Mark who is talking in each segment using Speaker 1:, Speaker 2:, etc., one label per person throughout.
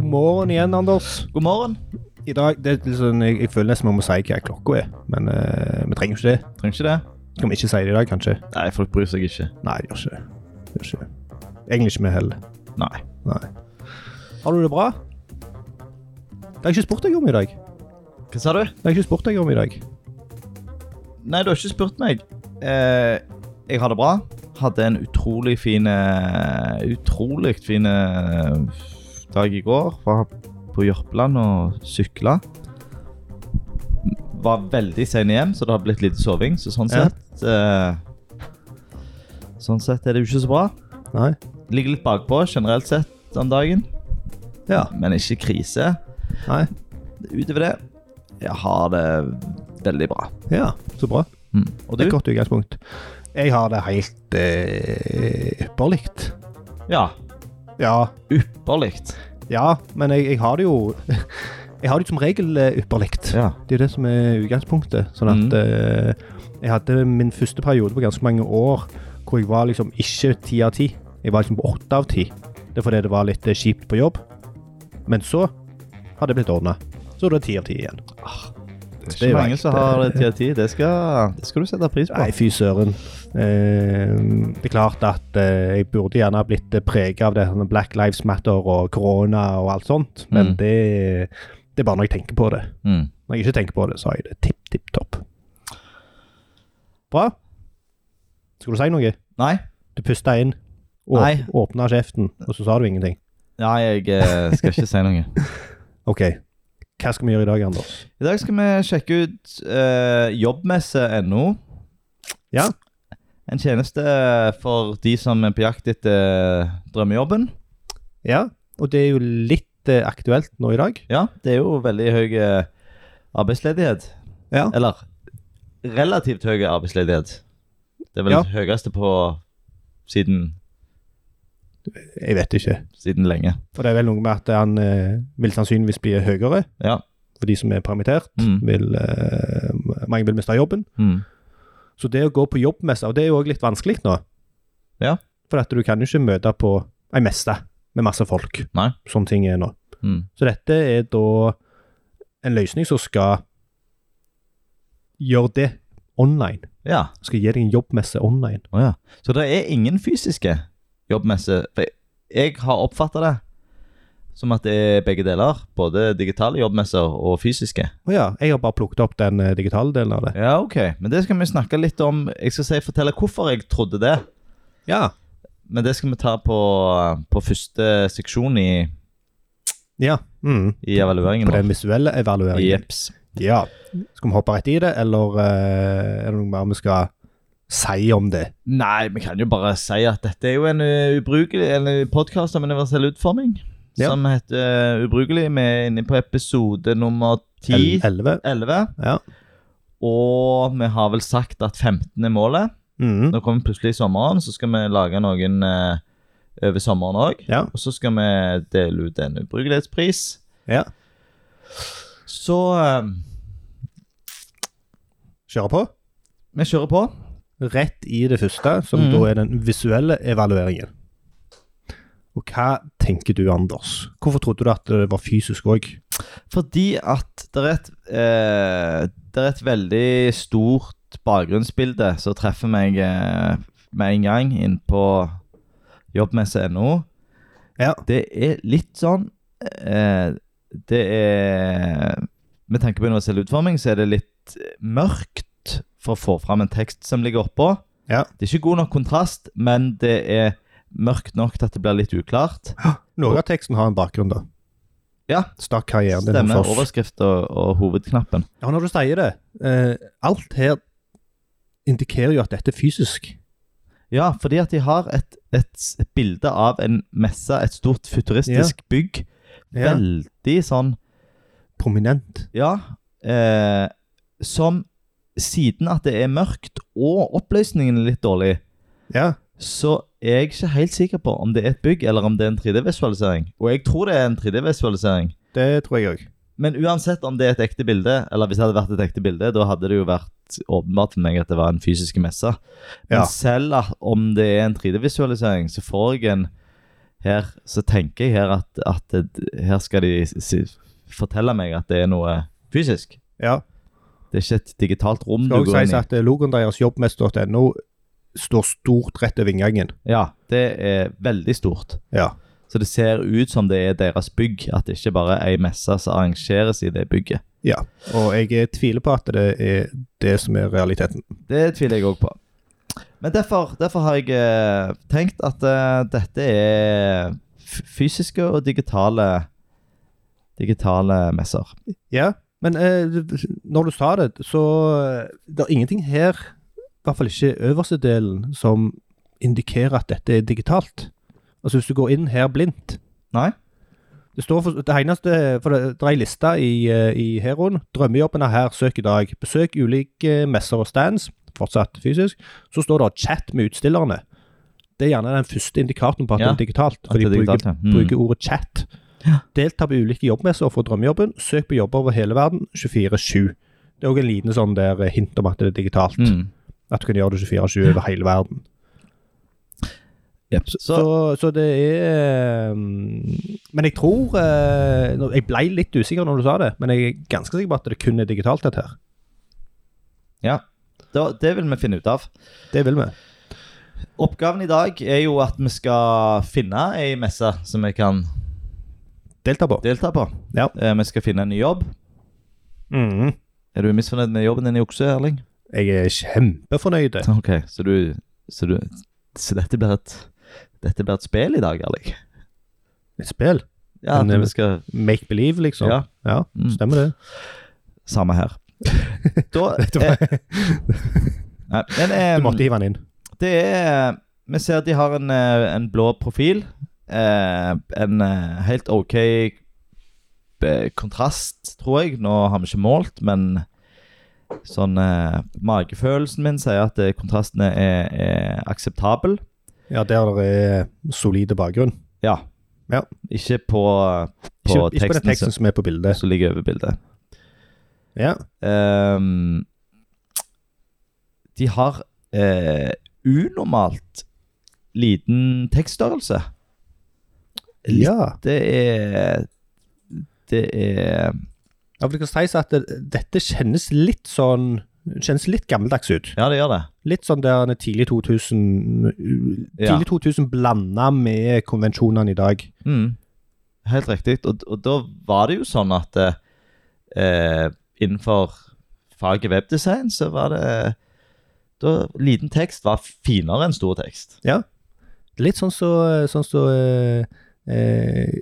Speaker 1: morgen igjen, Anders.
Speaker 2: God morgen.
Speaker 1: I dag, det er litt sånn, jeg, jeg føler nesten vi må si hva klokka er, men eh, vi trenger jo ikke det.
Speaker 2: Trenger ikke det.
Speaker 1: Skal vi ikke si det i dag, kanskje?
Speaker 2: Nei, folk bryr seg ikke.
Speaker 1: Nei, gjør ikke det. Gjør ikke det. Egentlig ikke vi heller.
Speaker 2: Nei.
Speaker 1: Nei. Har du det bra? Det har jeg ikke spurt deg om i dag.
Speaker 2: Hva sa du?
Speaker 1: Det har jeg ikke spurt deg om i dag.
Speaker 2: Nei, du har ikke spurt meg. Eh, jeg har det bra. Hadde en utrolig fin eh, Utrolig fin eh, dag i går. Var på Jørpeland og sykla. Var veldig sen hjem, så det har blitt lite soving. Så sånn
Speaker 1: Ja.
Speaker 2: sett eh, Sånn sett er det jo ikke så bra.
Speaker 1: Nei.
Speaker 2: Ligger litt bakpå generelt sett om dagen,
Speaker 1: Ja.
Speaker 2: men ikke krise.
Speaker 1: Nei.
Speaker 2: Utover det, jeg har det veldig bra.
Speaker 1: Ja, så bra. Det
Speaker 2: Og
Speaker 1: er
Speaker 2: du?
Speaker 1: et godt utgangspunkt. Jeg har det helt eh, ypperlig.
Speaker 2: Ja.
Speaker 1: Ja.
Speaker 2: Ypperlig.
Speaker 1: Ja, men jeg, jeg har det jo Jeg har det jo som regel eh, ypperlig.
Speaker 2: Ja.
Speaker 1: Det er det som er utgangspunktet. Sånn at
Speaker 2: Mhm.
Speaker 1: eh, Jeg hadde min første periode på ganske mange år hvor jeg var liksom ikke ti av ti. Jeg var liksom på åtte av ti. Det er fordi det var litt eh, kjipt på jobb. Men så har det blitt ordna. Så er det ti av ti igjen.
Speaker 2: Det
Speaker 1: Det
Speaker 2: er
Speaker 1: er
Speaker 2: Ah, ikke
Speaker 1: jo
Speaker 2: mange
Speaker 1: helt,
Speaker 2: som har det ti av ti. Det skal, det skal du sette pris på.
Speaker 1: Nei, fy søren. Eh, det er klart at eh, jeg burde gjerne ha blitt prega av det sånn Black Lives Matter og korona og alt sånt, men
Speaker 2: Mhm.
Speaker 1: det, det er bare når jeg tenker på det.
Speaker 2: Mm.
Speaker 1: Når jeg ikke tenker på det, så har jeg det tipp, tipp, topp. Bra. Skal du si noe?
Speaker 2: Nei.
Speaker 1: Du pusta inn, og
Speaker 2: Nei.
Speaker 1: åpna kjeften, og så sa du ingenting.
Speaker 2: Nei, jeg eh, skal ikke si noe.
Speaker 1: OK. Hva skal vi gjøre i dag, Anders?
Speaker 2: I dag skal vi sjekke ut eh, jobbmesse.no.
Speaker 1: Ja.
Speaker 2: En tjeneste for de som er på jakt etter drømmejobben.
Speaker 1: Ja, og det er jo litt eh, aktuelt nå i dag.
Speaker 2: Ja, det er jo veldig høy eh, arbeidsledighet.
Speaker 1: Ja.
Speaker 2: Eller relativt høy arbeidsledighet. Det er vel
Speaker 1: Ja.
Speaker 2: høyeste på siden,
Speaker 1: Jeg vet ikke.
Speaker 2: siden lenge.
Speaker 1: For det er vel noe med at han eh, vil sannsynligvis bli høyere
Speaker 2: Ja.
Speaker 1: for de som er permittert.
Speaker 2: Mm.
Speaker 1: Vil, eh, mange vil miste jobben.
Speaker 2: Mm.
Speaker 1: Så det å gå på jobbmesse, og det er jo òg litt vanskelig nå.
Speaker 2: Ja.
Speaker 1: For at du kan jo ikke møte på ei messe med masse folk,
Speaker 2: Nei.
Speaker 1: som ting er nå.
Speaker 2: Mm.
Speaker 1: Så dette er da en løsning som skal gjøre det online.
Speaker 2: Ja.
Speaker 1: Skal gi deg en jobbmesse online.
Speaker 2: Å ja. Så det er ingen fysiske jobbmesse. For jeg- jeg har oppfatta det som at det er begge deler. Både digitale jobbmesser og fysiske.
Speaker 1: Å ja, jeg har bare plukket opp den eh, digitale delen av det.
Speaker 2: Ja, ok. Men det skal vi snakke litt om. Jeg skal si, fortelle hvorfor jeg trodde det.
Speaker 1: Ja.
Speaker 2: Men det skal vi ta på, eh, på første seksjon i,
Speaker 1: ja. Mm.
Speaker 2: i evalueringen.
Speaker 1: På
Speaker 2: vår.
Speaker 1: den visuelle evalueringen.
Speaker 2: Jeps.
Speaker 1: Ja. Skal vi hoppe rett i det, eller eh, er det noe mer vi skal si om det?
Speaker 2: Nei, vi kan jo bare si at dette er jo en uh, ubrukelig En podkast om universell utforming.
Speaker 1: Ja.
Speaker 2: Som heter uh, Ubrukelig. Vi er inne på episode nummer ti.
Speaker 1: El- 11?
Speaker 2: 11.
Speaker 1: Ja.
Speaker 2: Og vi har vel sagt at 15 er målet.
Speaker 1: Mm.
Speaker 2: Nå kommer plutselig sommeren, så skal vi lage noen eh, over sommeren òg.
Speaker 1: Ja.
Speaker 2: Og så skal vi dele ut en ubrukelighetspris.
Speaker 1: ja.
Speaker 2: Så eh,
Speaker 1: Kjøre på.
Speaker 2: vi kjører på.
Speaker 1: Rett i det første, som
Speaker 2: Mm.
Speaker 1: da er den visuelle evalueringen. Og hva tenker du, Anders? Hvorfor trodde du at det var fysisk òg?
Speaker 2: Fordi at det er et, eh, det er et veldig stort bakgrunnsbilde som treffer meg eh, med en gang inn på jobbmesse.no.
Speaker 1: Ja.
Speaker 2: Det er litt sånn eh, Det er Med tanke på universell utforming, så er det litt mørkt for å få fram en tekst som ligger oppå.
Speaker 1: Ja.
Speaker 2: Det er ikke god nok kontrast, men det er mørkt nok til at det blir litt uklart.
Speaker 1: Noe av teksten har en bakgrunn, da.
Speaker 2: Ja.
Speaker 1: Stakk karrieren din
Speaker 2: Stemmer.
Speaker 1: hos oss.
Speaker 2: Overskrift og, og hovedknappen.
Speaker 1: Ja, når du sier det. Eh, alt her indikerer jo at dette er fysisk.
Speaker 2: Ja, fordi at de har et, et, et bilde av en messe, et stort futuristisk bygg.
Speaker 1: Ja.
Speaker 2: Veldig sånn
Speaker 1: Prominent.
Speaker 2: Ja. Eh, som siden at det er mørkt og oppløsningen er litt dårlig,
Speaker 1: Ja.
Speaker 2: så er jeg ikke helt sikker på om det er et bygg eller om det er en 3D-visualisering. Og jeg tror det er en 3D-visualisering.
Speaker 1: Det tror jeg òg.
Speaker 2: Men uansett om det er et ekte bilde, eller hvis det hadde vært et ekte bilde, da hadde det jo vært åpenbart for meg at det var en fysisk messe. Men
Speaker 1: Ja.
Speaker 2: selv om det er en 3D-visualisering, så får jeg en, her så tenker jeg her at, at det, her skal de si, fortelle meg at det er noe fysisk.
Speaker 1: Ja.
Speaker 2: Det er ikke et digitalt rom
Speaker 1: Skal
Speaker 2: du
Speaker 1: også
Speaker 2: går
Speaker 1: sies
Speaker 2: inn i.
Speaker 1: at eh, logoen deres, jobbmest.no, står stort rett over inngangen.
Speaker 2: Ja, det er veldig stort.
Speaker 1: Ja.
Speaker 2: Så det ser ut som det er deres bygg, at det ikke bare er ei messe som arrangeres i det bygget.
Speaker 1: ja. Og jeg eh, tviler på at det er det som er realiteten.
Speaker 2: Det tviler jeg òg på. Men derfor, derfor har jeg eh, tenkt at eh, dette er f- fysiske og digitale digitale messer.
Speaker 1: Ja, men eh, når du sa det, så eh, Det er ingenting her, i hvert fall ikke øverste delen, som indikerer at dette er digitalt. Altså hvis du går inn her blindt
Speaker 2: Nei?
Speaker 1: Det står for, det eneste, for det, det er ei liste i, eh, i Heroen. Drømmejobben er her, søk i dag. Besøk ulike eh, messer og stands, fortsatt fysisk. Så står det chat med utstillerne. Det er gjerne den første indikatoren på at
Speaker 2: Ja,
Speaker 1: det er digitalt. For
Speaker 2: At det
Speaker 1: de
Speaker 2: er
Speaker 1: bruker,
Speaker 2: digitalt, ja. Mm.
Speaker 1: bruker ordet chat. Delta på ulike jobbmesser og få drømmejobben. Søk på jobber over hele verden 24-7. Det er òg en liten sånn der eh, hint om at det er digitalt.
Speaker 2: Mm.
Speaker 1: At du kan gjøre det 24-7 over hele verden.
Speaker 2: Jep,
Speaker 1: Så,
Speaker 2: Så,
Speaker 1: så det er mm, Men jeg tror eh, nå- Jeg ble litt usikker når du sa det, men jeg er ganske sikker på at det kun er digitalt, dette her.
Speaker 2: ja. Da, det vil vi finne ut av.
Speaker 1: Det vil vi.
Speaker 2: Oppgaven i dag er jo at vi skal finne ei messe som vi kan
Speaker 1: Delta på.
Speaker 2: delta på.
Speaker 1: Ja.
Speaker 2: Eh, vi skal finne en ny jobb.
Speaker 1: Mhm.
Speaker 2: Er du misfornøyd med jobben din i Okse, Erling?
Speaker 1: Jeg er kjempefornøyd.
Speaker 2: Ok, så du Så, du, så dette blir et Dette blir et spill i dag, Erling?
Speaker 1: Et spill.
Speaker 2: Ja,
Speaker 1: Men,
Speaker 2: at
Speaker 1: eh,
Speaker 2: vi skal
Speaker 1: Make believe, liksom.
Speaker 2: Ja. Mm.
Speaker 1: stemmer det.
Speaker 2: Samme her. Da
Speaker 1: Du,
Speaker 2: eh, nei, Men
Speaker 1: du
Speaker 2: eh,
Speaker 1: måtte hive den inn.
Speaker 2: det er Vi ser at de har en, eh, en blå profil. Eh, en eh, helt OK eh, kontrast, tror jeg. Nå har vi ikke målt, men sånn eh, Magefølelsen min sier at eh, kontrasten er, er akseptabel.
Speaker 1: Ja, der det er solide bakgrunn.
Speaker 2: Ja.
Speaker 1: Ja.
Speaker 2: Ikke på, eh, på
Speaker 1: Ikke, ikke på den
Speaker 2: teksten
Speaker 1: teksten som er på
Speaker 2: som-
Speaker 1: bildet.
Speaker 2: som ligger over bildet.
Speaker 1: Ja.
Speaker 2: Ehm, de har eh, unormalt liten tekststørrelse. Litt-
Speaker 1: ja.
Speaker 2: Det er Det er
Speaker 1: Ja, for Det kan sies at det, dette kjennes litt sånn Kjennes litt gammeldags ut.
Speaker 2: Ja, det gjør det.
Speaker 1: Litt sånn der han er tidlig 2000
Speaker 2: Ja.
Speaker 1: Tidlig 2000 blanda med konvensjonene i dag.
Speaker 2: Mm. Helt riktig. Og, og da var det jo sånn at eh, innenfor faget webdesign så var det da, Liten tekst var finere enn stor tekst.
Speaker 1: Litt sånn så, sånn så eh, eh,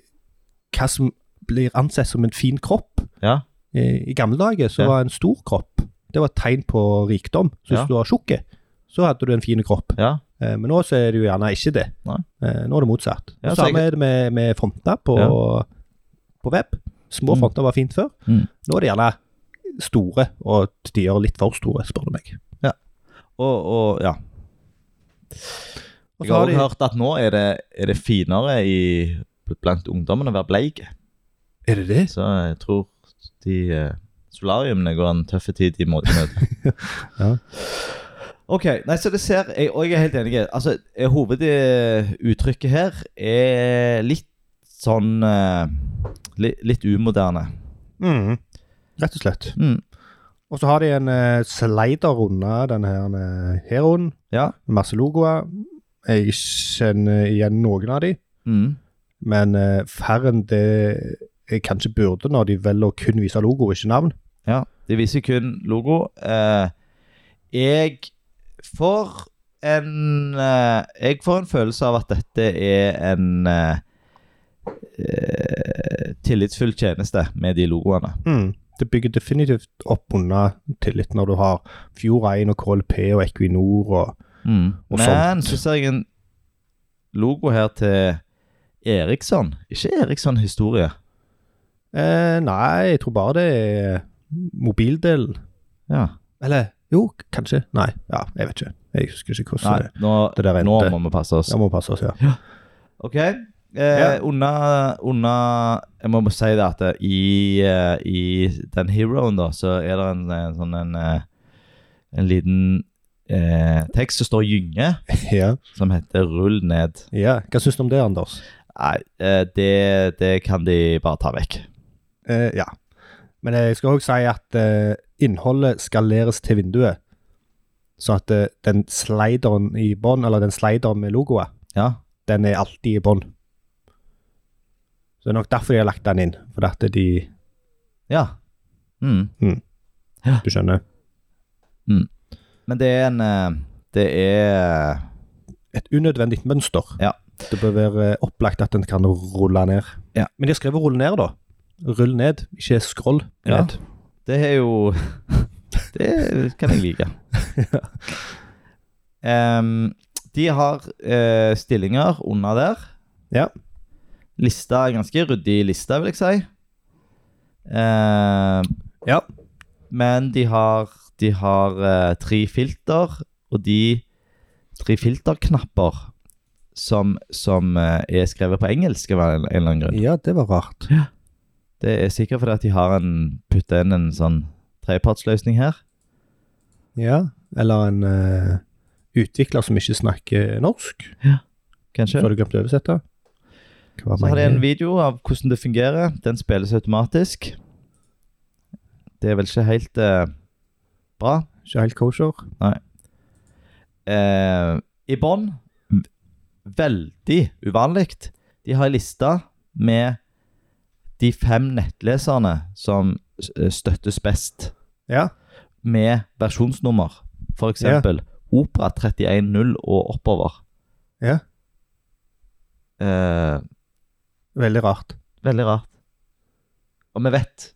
Speaker 1: Hva som blir ansett som en fin kropp.
Speaker 2: Ja.
Speaker 1: Eh, I gamle dager så
Speaker 2: Ja.
Speaker 1: var en stor kropp Det var et tegn på rikdom. Så hvis
Speaker 2: Ja.
Speaker 1: du var tjukk, så hadde du en fin kropp.
Speaker 2: Ja.
Speaker 1: Eh, men nå så er det jo gjerne ikke det.
Speaker 2: Nei.
Speaker 1: Eh, nå er det motsatt.
Speaker 2: Ja,
Speaker 1: Det
Speaker 2: så
Speaker 1: Samme
Speaker 2: jeg-
Speaker 1: er det med, med fronter på, på web. Små
Speaker 2: Mm.
Speaker 1: fronter var fint før.
Speaker 2: Mm.
Speaker 1: Nå er det gjerne store, og de gjør litt for store, spør du meg.
Speaker 2: Og, og ja.
Speaker 1: Og
Speaker 2: Jeg
Speaker 1: så
Speaker 2: har
Speaker 1: har
Speaker 2: også
Speaker 1: de,
Speaker 2: hørt at nå er det, er det finere i, blant ungdommen å være bleik.
Speaker 1: er det det?
Speaker 2: Så jeg tror de eh, solariumene går en tøff tid i måtenød.
Speaker 1: Ja.
Speaker 2: OK. Nei, så det ser jeg, Og jeg er helt enig. Altså, eh, hoveduttrykket her er litt sånn eh, li, Litt umoderne.
Speaker 1: Mhm. Rett og slett.
Speaker 2: Mm.
Speaker 1: Og så har de en eh, slider unna denne her eh, heroen,
Speaker 2: Ja.
Speaker 1: med masse logoer. Jeg kjenner igjen noen av de,
Speaker 2: Mm.
Speaker 1: men eh, færre enn det jeg kanskje burde når de velger å kun vise logo, ikke navn.
Speaker 2: Ja, de viser kun logo. Eh, jeg får en eh, Jeg får en følelse av at dette er en eh, eh, tillitsfull tjeneste med de logoene.
Speaker 1: Mm. Det bygger definitivt opp under tillit når du har Fjord1 og KLP og Equinor og Mm. Og sånn.
Speaker 2: Men så ser jeg en logo her til Eriksson. Ikke Eriksson historie.
Speaker 1: eh, Nei, jeg tror bare det er mobildelen.
Speaker 2: Ja.
Speaker 1: Eller jo, k- kanskje. Nei, ja, jeg vet ikke. Jeg husker ikke
Speaker 2: Nei,
Speaker 1: hvordan det
Speaker 2: nå,
Speaker 1: det der
Speaker 2: nå
Speaker 1: endte.
Speaker 2: må vi passe oss.
Speaker 1: Jeg må passe oss, ja.
Speaker 2: Ok. Eh,
Speaker 1: Ja.
Speaker 2: Under, under Jeg må bare si det at det, i, eh, i den heroen, da, så er det en, eh, sånn en, eh, en liten eh, tekst som står Gynge,
Speaker 1: ja.
Speaker 2: som heter 'Rull ned'.
Speaker 1: ja. Hva syns du om det, Anders?
Speaker 2: Nei, eh, det, det kan de bare ta vekk.
Speaker 1: Eh, ja. Men jeg skal òg si at eh, innholdet skaleres til vinduet. Så at eh, den slideren i bånn, eller den slideren med logoer,
Speaker 2: Ja.
Speaker 1: den er alltid i bånn. Så det er nok derfor de har lagt den inn. For at de
Speaker 2: Ja. Mm.
Speaker 1: Du skjønner.
Speaker 2: Men det er en eh, Det er
Speaker 1: Et unødvendig mønster.
Speaker 2: Ja.
Speaker 1: Det bør være eh, opplagt at den kan rulle ned.
Speaker 2: Ja.
Speaker 1: Men de har skrevet 'rull ned', da. Rull ned, ikke scroll
Speaker 2: Ja.
Speaker 1: ned.
Speaker 2: Det er jo Det kan jeg like. Em, de har eh, stillinger under der.
Speaker 1: Ja.
Speaker 2: Lista er ganske ryddig liste, vil jeg si. Em,
Speaker 1: Ja.
Speaker 2: Men de har, de har eh, tre filter, og de tre filterknapper som, som eh, er skrevet på engelsk av en en eller annen grunn.
Speaker 1: Ja, det var rart.
Speaker 2: Det er sikkert fordi at de har en, puttet inn en sånn trepartsløsning her.
Speaker 1: Ja. Eller en eh, utvikler som ikke snakker norsk. Så
Speaker 2: Kanskje.
Speaker 1: har du glemt å oversette? Hva
Speaker 2: Så har de en video av hvordan det fungerer. Den spilles automatisk. Det er vel ikke helt eh, bra.
Speaker 1: Ikke helt kosher.
Speaker 2: Eh, I bånn v- Veldig uvanlig. De har ei liste med de fem nettleserne som s- eh, støttes best,
Speaker 1: Ja.
Speaker 2: med versjonsnummer. For eksempel Opera 31.0 og oppover.
Speaker 1: Ja.
Speaker 2: Eh,
Speaker 1: Veldig rart.
Speaker 2: Veldig rart. Og vi vet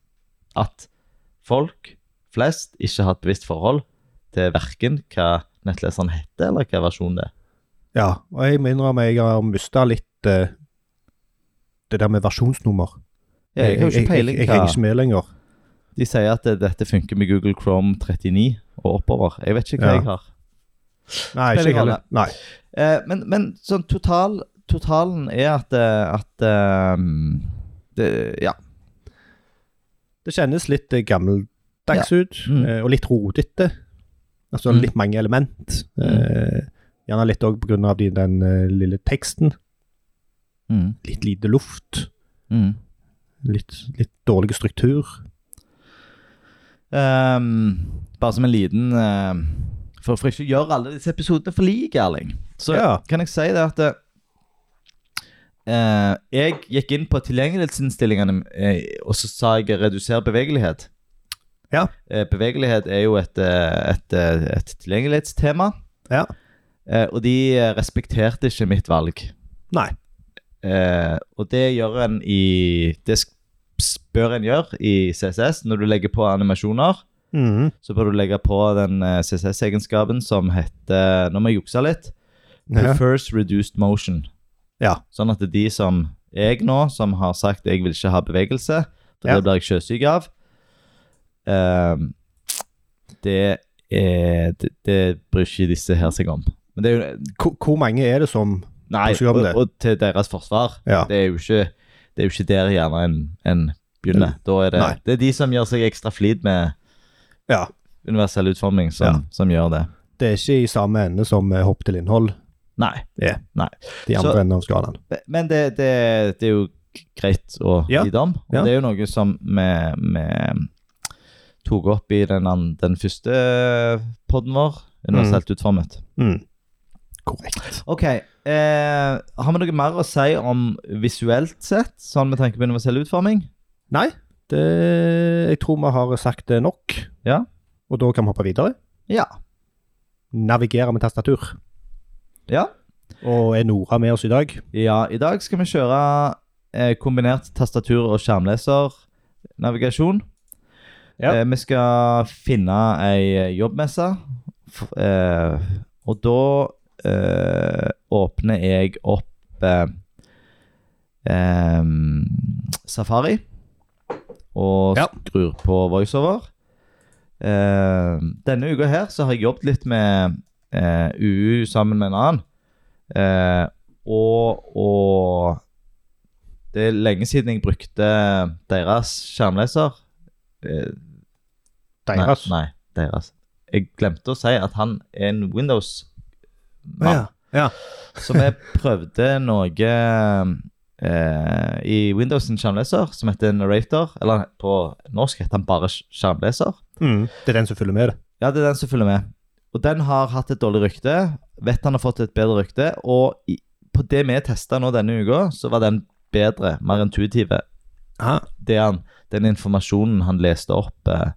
Speaker 2: at folk flest ikke har et bevisst forhold til verken hva nettleseren heter, eller hva versjonen det er.
Speaker 1: Ja, og jeg må innrømme jeg har mista litt eh, det der med versjonsnummer.
Speaker 2: Jeg har jo ikke peiling
Speaker 1: jeg, jeg, jeg henger
Speaker 2: hva
Speaker 1: ikke med lenger.
Speaker 2: De sier at det- dette funker med Google Chrome 39 og oppover. Jeg vet ikke hva
Speaker 1: Ja.
Speaker 2: jeg har.
Speaker 1: Nei, ikke
Speaker 2: Peiling
Speaker 1: jeg heller. Nei.
Speaker 2: Eh, men, men sånn total, totalen er at, eh, at eh, det, Ja.
Speaker 1: Det kjennes litt eh, gammeldags ut,
Speaker 2: Mm.
Speaker 1: eh, og litt rodete. Altså
Speaker 2: Mm.
Speaker 1: litt mange element.
Speaker 2: Mm.
Speaker 1: Eh, gjerne litt òg pga. De, den eh, lille teksten.
Speaker 2: Mm,
Speaker 1: Litt lite luft.
Speaker 2: mm.
Speaker 1: Litt, litt dårlig struktur.
Speaker 2: Ehm, bare som en liten ehm, for, for ikke å gjøre alle disse episodene for like, Erling, så
Speaker 1: Ja.
Speaker 2: kan jeg si det at eh, Jeg gikk inn på tilgjengelighetsinnstillingene eh, og så sa jeg 'reduser bevegelighet'.
Speaker 1: Ja.
Speaker 2: Eh, bevegelighet er jo et, eh, et, eh, et tilgjengelighetstema,
Speaker 1: Ja.
Speaker 2: eh, og de eh, respekterte ikke mitt valg.
Speaker 1: Nei.
Speaker 2: Eh, og det gjør en i Det sk- bør en gjøre i CSS når du legger på animasjoner
Speaker 1: Mhm.
Speaker 2: så bør du legge på den eh, CSS-egenskapen som heter Nå må jeg jukse litt.
Speaker 1: Ja.
Speaker 2: Prefers reduced motion.
Speaker 1: Ja.
Speaker 2: Sånn at de som jeg nå, som har sagt jeg vil ikke ha bevegelse, for
Speaker 1: Ja.
Speaker 2: det blir jeg sjøsyk av ehm, det, er, det, det bryr ikke disse her seg om. Men det er jo
Speaker 1: Hvor, hvor mange er det som
Speaker 2: Nei,
Speaker 1: Bryr seg om
Speaker 2: og,
Speaker 1: det.
Speaker 2: og til deres forsvar.
Speaker 1: Ja.
Speaker 2: Det er jo ikke, det er jo ikke der gjerne en, en begynner. Da er det,
Speaker 1: Nei.
Speaker 2: det er de som gjør seg ekstra flid med
Speaker 1: Ja.
Speaker 2: universell utforming, som,
Speaker 1: Ja.
Speaker 2: som gjør det.
Speaker 1: Det er ikke i samme ende som eh, hopp til innhold.
Speaker 2: Nei.
Speaker 1: De andre
Speaker 2: Så-
Speaker 1: enden av skalaen.
Speaker 2: Men det, det, det er jo greit å
Speaker 1: Ja.
Speaker 2: vite om. Og
Speaker 1: Ja.
Speaker 2: det er jo noe som vi, vi tok opp i den, an- den første eh, podden vår, universelt utformet.
Speaker 1: Mm. Korrekt.
Speaker 2: Ok, eh, har vi noe mer å si om visuelt sett, sånn med tanke på universell utforming?
Speaker 1: Nei, det, jeg tror vi har sagt det nok.
Speaker 2: Ja.
Speaker 1: Og da kan vi hoppe videre.
Speaker 2: Ja.
Speaker 1: Navigere med tastatur.
Speaker 2: Ja,
Speaker 1: Og er Nora med oss i dag?
Speaker 2: ja i dag skal vi kjøre eh, kombinert tastatur og skjermlesernavigasjon.
Speaker 1: Ja.
Speaker 2: Eh, vi skal finne ei eh, jobbmesse. F- Eh, og da eh, åpner jeg opp eh, em, Safari og
Speaker 1: Ja.
Speaker 2: skrur på voiceover. Eh, denne uka her så har jeg jobbet litt med eh, UU sammen med en annen. Eh, og, og det er lenge siden jeg brukte deres skjermleser. Eh,
Speaker 1: Deres.
Speaker 2: Nei, nei, deres. Jeg glemte å si at han er en Windows-mann.
Speaker 1: Ja. ja.
Speaker 2: Så vi prøvde noe eh, i Windows en skjermleser som heter Narrator. Eller på norsk heter den bare sk- skjermleser.
Speaker 1: Mm. Det er den som følger med det.
Speaker 2: Ja, det er den som følger med. Og den har hatt et dårlig rykte. Vet han har fått et bedre rykte. Og i, på det vi testa nå denne uka, så var den bedre, mer intuitive. Det han, den informasjonen han leste opp eh,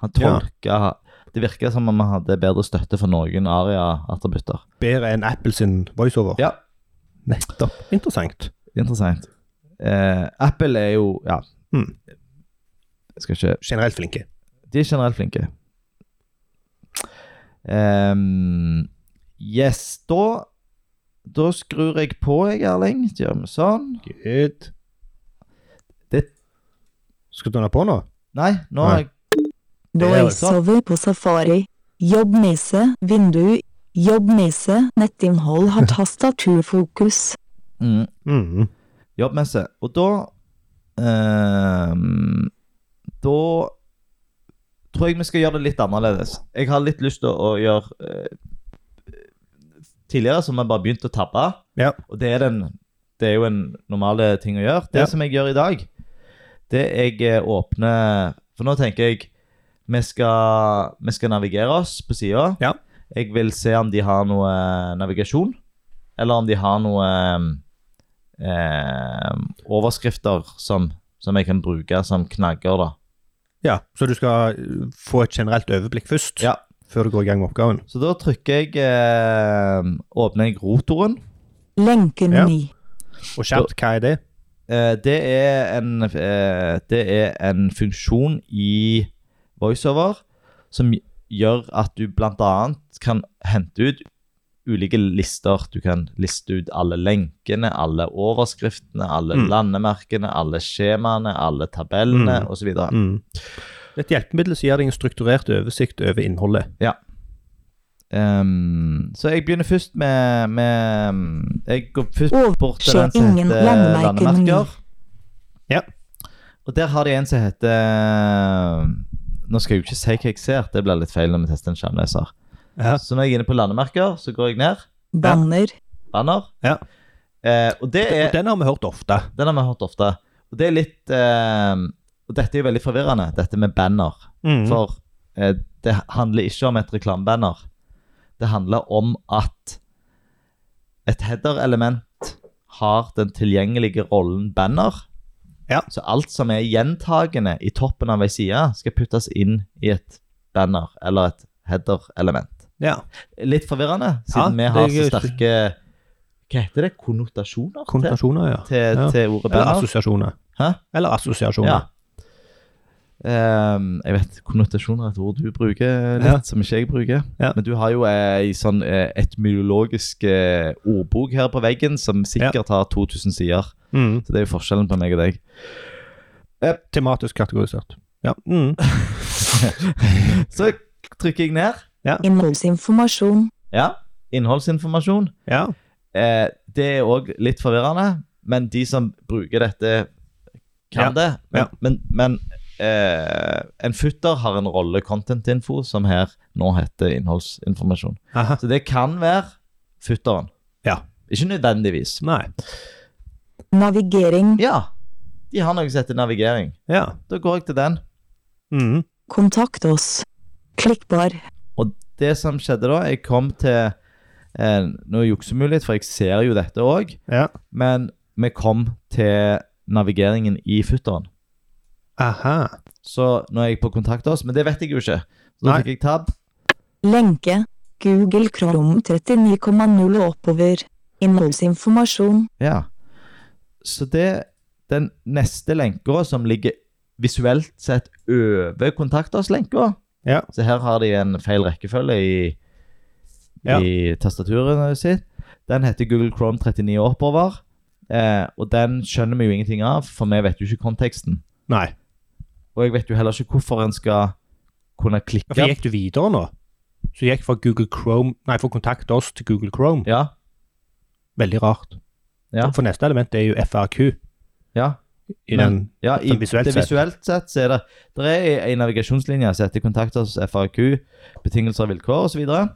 Speaker 2: Han
Speaker 1: Ja.
Speaker 2: tolka Det virka som om han hadde bedre støtte for noen aria-attributter.
Speaker 1: Bedre enn Apple sin voiceover.
Speaker 2: Ja.
Speaker 1: Nettopp. Interessant.
Speaker 2: Interessant. Eh, Apple er jo Ja.
Speaker 1: Mm.
Speaker 2: Jeg skal ikke
Speaker 1: Generelt flinke.
Speaker 2: De er generelt flinke. Ehm, yes, da Da skrur jeg på, jeg, Erling. Så Gjør vi sånn.
Speaker 1: Good.
Speaker 2: Det-
Speaker 1: Skal du ha på nå?
Speaker 2: Nei, nå
Speaker 1: Nei.
Speaker 2: har jeg Det er jo sant.
Speaker 3: VoiceOver på Safari. Jobbnisse, vindu. Jobbnisse, nettinnhold har tastaturfokus.
Speaker 2: mm,
Speaker 1: Mm.
Speaker 2: jobbmesse. Og da ehm, Da tror jeg vi skal gjøre det litt annerledes. Jeg har litt lyst til å gjøre eh, Tidligere så har vi bare begynt å tabbe.
Speaker 1: Ja.
Speaker 2: Og det er, den, det er jo en normale ting å gjøre. Det
Speaker 1: Ja.
Speaker 2: som jeg gjør i dag, det jeg eh, åpner For nå tenker jeg vi skal, vi skal navigere oss på sida.
Speaker 1: Ja.
Speaker 2: Jeg vil se om de har noe eh, navigasjon, eller om de har noe eh, eh, overskrifter som, som jeg kan bruke som knagger, da.
Speaker 1: ja. Så du skal eh, få et generelt overblikk først?
Speaker 2: Ja.
Speaker 1: Før du går i gang med oppgaven?
Speaker 2: Så da trykker jeg eh, Åpner jeg rotoren.
Speaker 3: Lenken
Speaker 1: Ja.
Speaker 3: 9.
Speaker 1: Og kjapt, hva er det?
Speaker 2: Eh, det er en eh, Det er en funksjon i voiceover som gjør at du bl.a. kan hente ut ulike lister. Du kan liste ut alle lenkene, alle overskriftene, alle
Speaker 1: Mm.
Speaker 2: landemerkene, alle skjemaene, alle tabellene
Speaker 1: Mm.
Speaker 2: osv.
Speaker 1: Mm. Det er Et hjelpemiddel som gir deg en strukturert oversikt over innholdet.
Speaker 2: Um, så jeg begynner først med, med mm, Jeg går først
Speaker 3: Overse
Speaker 2: bort til den som
Speaker 3: ingen
Speaker 2: heter
Speaker 3: landemerker
Speaker 2: landemerker.
Speaker 1: Ja.
Speaker 2: Og der har de en som heter Nå skal jeg jo ikke si hva jeg ser, det blir litt feil når vi tester en skjermleser.
Speaker 1: Ja.
Speaker 2: Så når jeg er inne på landemerker, så går jeg ned.
Speaker 3: Banner.
Speaker 2: Banner.
Speaker 1: Ja.
Speaker 2: Eh, og det er
Speaker 1: Og den har vi hørt ofte.
Speaker 2: Den har vi hørt ofte. Og det er litt eh, Og dette er jo veldig forvirrende, dette med banner.
Speaker 1: For-
Speaker 2: For eh, det handler ikke om et reklamebanner. Det handler om at et header-element har den tilgjengelige rollen banner.
Speaker 1: Ja.
Speaker 2: Så alt som er gjentagende i toppen av ei side, skal puttes inn i et banner eller et header-element.
Speaker 1: Ja.
Speaker 2: Litt forvirrende, siden
Speaker 1: Ja,
Speaker 2: vi har
Speaker 1: det
Speaker 2: så
Speaker 1: er-
Speaker 2: sterke Hva heter det? Konnotasjoner? til-
Speaker 1: Konnotasjoner, ja.
Speaker 2: Til,
Speaker 1: Ja. altså-
Speaker 2: til ordet
Speaker 1: Eller
Speaker 2: banner?
Speaker 1: assosiasjoner.
Speaker 2: Hæ?
Speaker 1: Eller assosiasjoner.
Speaker 2: Ja. Ehm, jeg vet konnotasjon er et ord du bruker litt,
Speaker 1: Ja.
Speaker 2: som ikke jeg bruker.
Speaker 1: Ja.
Speaker 2: Men du har jo ei sånn eh, etymologisk eh, ordbok her på veggen som sikkert har 2000 sider.
Speaker 1: Mm.
Speaker 2: Så det er jo forskjellen på meg og deg.
Speaker 1: Tematisk kategorisert. Ja. Mm.
Speaker 2: Så trykker jeg ned.
Speaker 3: Innholdsinformasjon.
Speaker 2: Ja. Innholdsinformasjon.
Speaker 1: ja.
Speaker 2: Eh, det er òg litt forvirrende, men de som bruker dette,
Speaker 1: Ja.
Speaker 2: kan det. Men,
Speaker 1: Ja.
Speaker 2: men, men eh, en futter har en rolle content-info, som her nå heter innholdsinformasjon.
Speaker 1: Aha.
Speaker 2: Så det kan være futteren.
Speaker 1: Ja.
Speaker 2: Ikke nødvendigvis.
Speaker 1: Nei.
Speaker 3: Navigering.
Speaker 2: Ja, de har noe som heter navigering.
Speaker 1: Ja.
Speaker 2: Da går jeg til den.
Speaker 1: Mm.
Speaker 3: Kontakt oss. Klikkbar.
Speaker 2: Og det som skjedde da, jeg kom til eh, Nå juksemulighet, for jeg ser jo dette òg,
Speaker 1: Ja.
Speaker 2: men vi kom til navigeringen i futteren.
Speaker 1: Aha.
Speaker 2: Så nå er jeg på kontakt oss, men det vet jeg jo ikke. Så da
Speaker 1: Nei.
Speaker 2: fikk jeg tab.
Speaker 3: Lenke. Google Chrome 39,0 og oppover. Innholdsinformasjon.
Speaker 2: Ja. Så det Den neste lenka som ligger visuelt sett over kontaktoss-lenka
Speaker 1: Ja.
Speaker 2: Så her har de en feil rekkefølge i,
Speaker 1: Ja.
Speaker 2: i tastaturet sitt. Den heter Google Chrome 39 oppover. Eh, og den skjønner vi jo ingenting av, for vi vet jo ikke konteksten.
Speaker 1: Nei.
Speaker 2: Og jeg vet jo heller ikke hvorfor en skal kunne klikke.
Speaker 1: Ja, For gikk du videre nå? Så gikk fra Google Chrome Nei, fra Kontakt oss til Google Chrome.
Speaker 2: Ja,
Speaker 1: Veldig rart.
Speaker 2: Ja.
Speaker 1: For neste element er jo FRQ.
Speaker 2: ja.
Speaker 1: I
Speaker 2: Men-
Speaker 1: den
Speaker 2: Ja, i,
Speaker 1: Sånn visuelt
Speaker 2: det,
Speaker 1: sett.
Speaker 2: visuelt sett så er det Det er ei- ei navigasjonslinje som heter 'Kontakt oss FAQ', 'Betingelser og vilkår' osv. Og,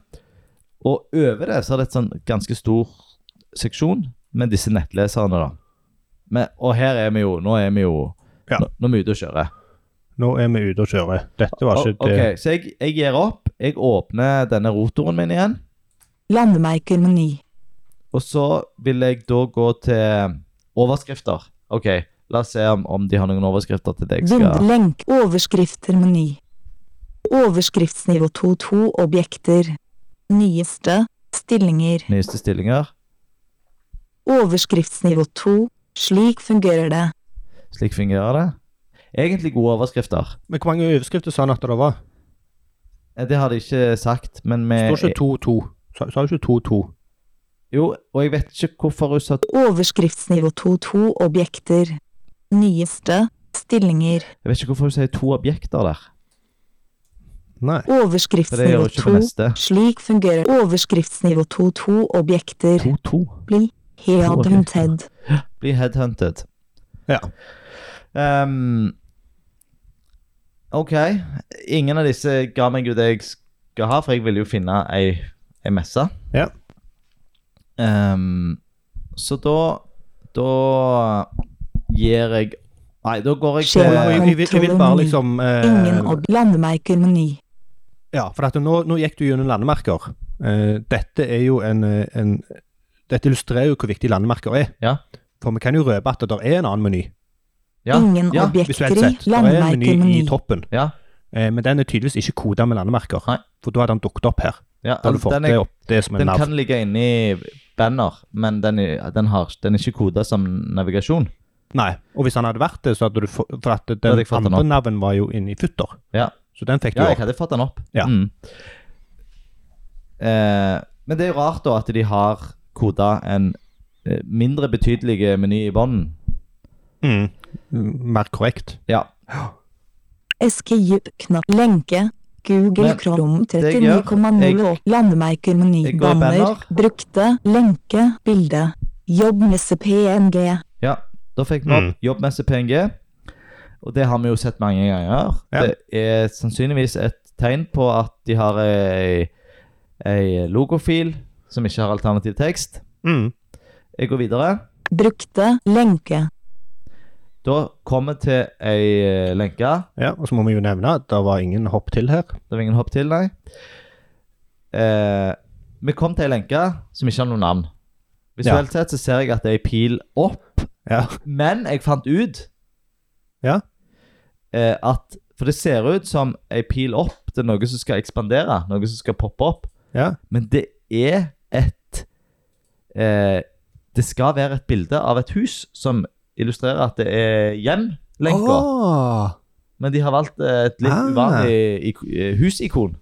Speaker 2: og over det så er det et sånn ganske stor seksjon med disse nettleserne. da Men, og her er vi jo Nå er vi jo
Speaker 1: Ja.
Speaker 2: nå, nå er vi ute og kjører.
Speaker 1: Nå er vi ute og kjører. Dette var ikke
Speaker 2: O-
Speaker 1: det
Speaker 2: ok, Så jeg, jeg gir opp. Jeg åpner denne rotoren min igjen.
Speaker 3: Landemerkermeny.
Speaker 2: Og så vil jeg da gå til overskrifter. OK, la oss se om, om de har noen overskrifter til det jeg skal
Speaker 3: Vindelenk. Overskriftermeny. Overskriftsnivå 2-2 objekter. Nyeste. Stillinger.
Speaker 2: Nyeste stillinger.
Speaker 3: Overskriftsnivå 2. Slik fungerer det.
Speaker 2: Slik fungerer det. Egentlig gode overskrifter.
Speaker 1: Men hvor mange overskrifter sa han at det var?
Speaker 2: Eh, Det har de ikke sagt, men vi
Speaker 1: Står ikke 2-2. Sa sa du ikke 2-2?
Speaker 2: Jo, og jeg vet ikke hvorfor hun sa
Speaker 3: Overskriftsnivå 2-2 objekter. Nyeste. Stillinger.
Speaker 2: Jeg vet ikke hvorfor hun sier to objekter der.
Speaker 1: Nei.
Speaker 2: For det gjør
Speaker 3: Overskriftsnivå
Speaker 2: hun ikke på
Speaker 3: 2.
Speaker 2: neste.
Speaker 3: Slik fungerer overskriftsnivå 2-2 objekter.
Speaker 2: 2-2.
Speaker 3: Bli headhunted.
Speaker 2: Bli headhunted.
Speaker 1: Ja.
Speaker 2: Ehm, OK. Ingen av disse ga meg jo det jeg skal ha, for jeg ville jo finne ei, ei messe.
Speaker 1: Ja.
Speaker 2: Ehm, så da Da gir jeg Nei, da går jeg
Speaker 1: Jeg, jeg,
Speaker 2: til
Speaker 1: jeg, vil- jeg vil bare liksom
Speaker 3: Ingen
Speaker 1: eh,
Speaker 3: ob landemerkermeny.
Speaker 1: Ja, for at nå, nå gikk du gjennom landemerker. Eh, dette er jo en, eh, en Dette illustrerer jo hvor viktig landemerker er.
Speaker 2: Ja.
Speaker 1: For vi kan jo røpe at det er en annen meny,
Speaker 2: Ja,
Speaker 3: Ingen
Speaker 2: ja,
Speaker 1: visuelt
Speaker 3: objekter i
Speaker 1: sett. Det er en meny i
Speaker 3: landemerkermeny.
Speaker 1: toppen,
Speaker 2: ja,
Speaker 1: eh, men den er tydeligvis ikke koda med landemerker.
Speaker 2: Nei.
Speaker 1: For da hadde den dukket opp her.
Speaker 2: ja,
Speaker 1: Da hadde du fått
Speaker 2: den,
Speaker 1: det
Speaker 2: er,
Speaker 1: opp. Det er som en
Speaker 2: den
Speaker 1: navn.
Speaker 2: kan ligge inni banner, men den er, den har, den er ikke koda som navigasjon.
Speaker 1: Nei. Og hvis han hadde vært det, så hadde du fått For at den
Speaker 2: hadde jeg fått den
Speaker 1: andre navnet var jo inni futter.
Speaker 2: Ja.
Speaker 1: Så den fikk du
Speaker 2: Ja, jeg
Speaker 1: opp.
Speaker 2: hadde fått den opp.
Speaker 1: Ja.
Speaker 2: Mm. Eh, men det er jo rart da at de har koda en eh, mindre betydelig meny i bånden.
Speaker 1: Mm. Mer korrekt.
Speaker 2: Ja.
Speaker 3: Escape knapp lenke. Google
Speaker 2: Men
Speaker 3: Chrome
Speaker 2: det jeg gjør,
Speaker 3: 39,0 og landemerker
Speaker 2: jeg går i
Speaker 3: menybanner.
Speaker 2: banner.
Speaker 3: Brukte lenke bilde. Jobbmesse PNG.
Speaker 2: ja. Da fikk vi opp
Speaker 1: Mm.
Speaker 2: jobbmessig PNG, og det har vi jo sett mange ganger.
Speaker 1: Ja.
Speaker 2: Det er sannsynligvis et tegn på at de har ei, ei logofil som ikke har alternativ tekst.
Speaker 1: Mm.
Speaker 2: Jeg går videre.
Speaker 3: Brukte lenke.
Speaker 2: Da kommer vi til ei eh, lenke.
Speaker 1: Ja, og så må vi jo nevne at det var ingen hopp til her.
Speaker 2: Det var ingen hopp til, nei. Eh, vi kom til ei lenke som ikke har noe navn. Visuelt sett så ser jeg at det er ei pil opp,
Speaker 1: Ja.
Speaker 2: men jeg fant ut
Speaker 1: Ja.
Speaker 2: eh, at For det ser ut som ei pil opp til noe som skal ekspandere, noe som skal poppe opp.
Speaker 1: ja.
Speaker 2: Men det er et eh, Det skal være et bilde av et hus som illustrerer at det er hjem-lenka. Ah!
Speaker 1: Åh.
Speaker 2: Men de har valgt eh, et litt
Speaker 1: Ah.
Speaker 2: uvanlig ik- eh, husikon.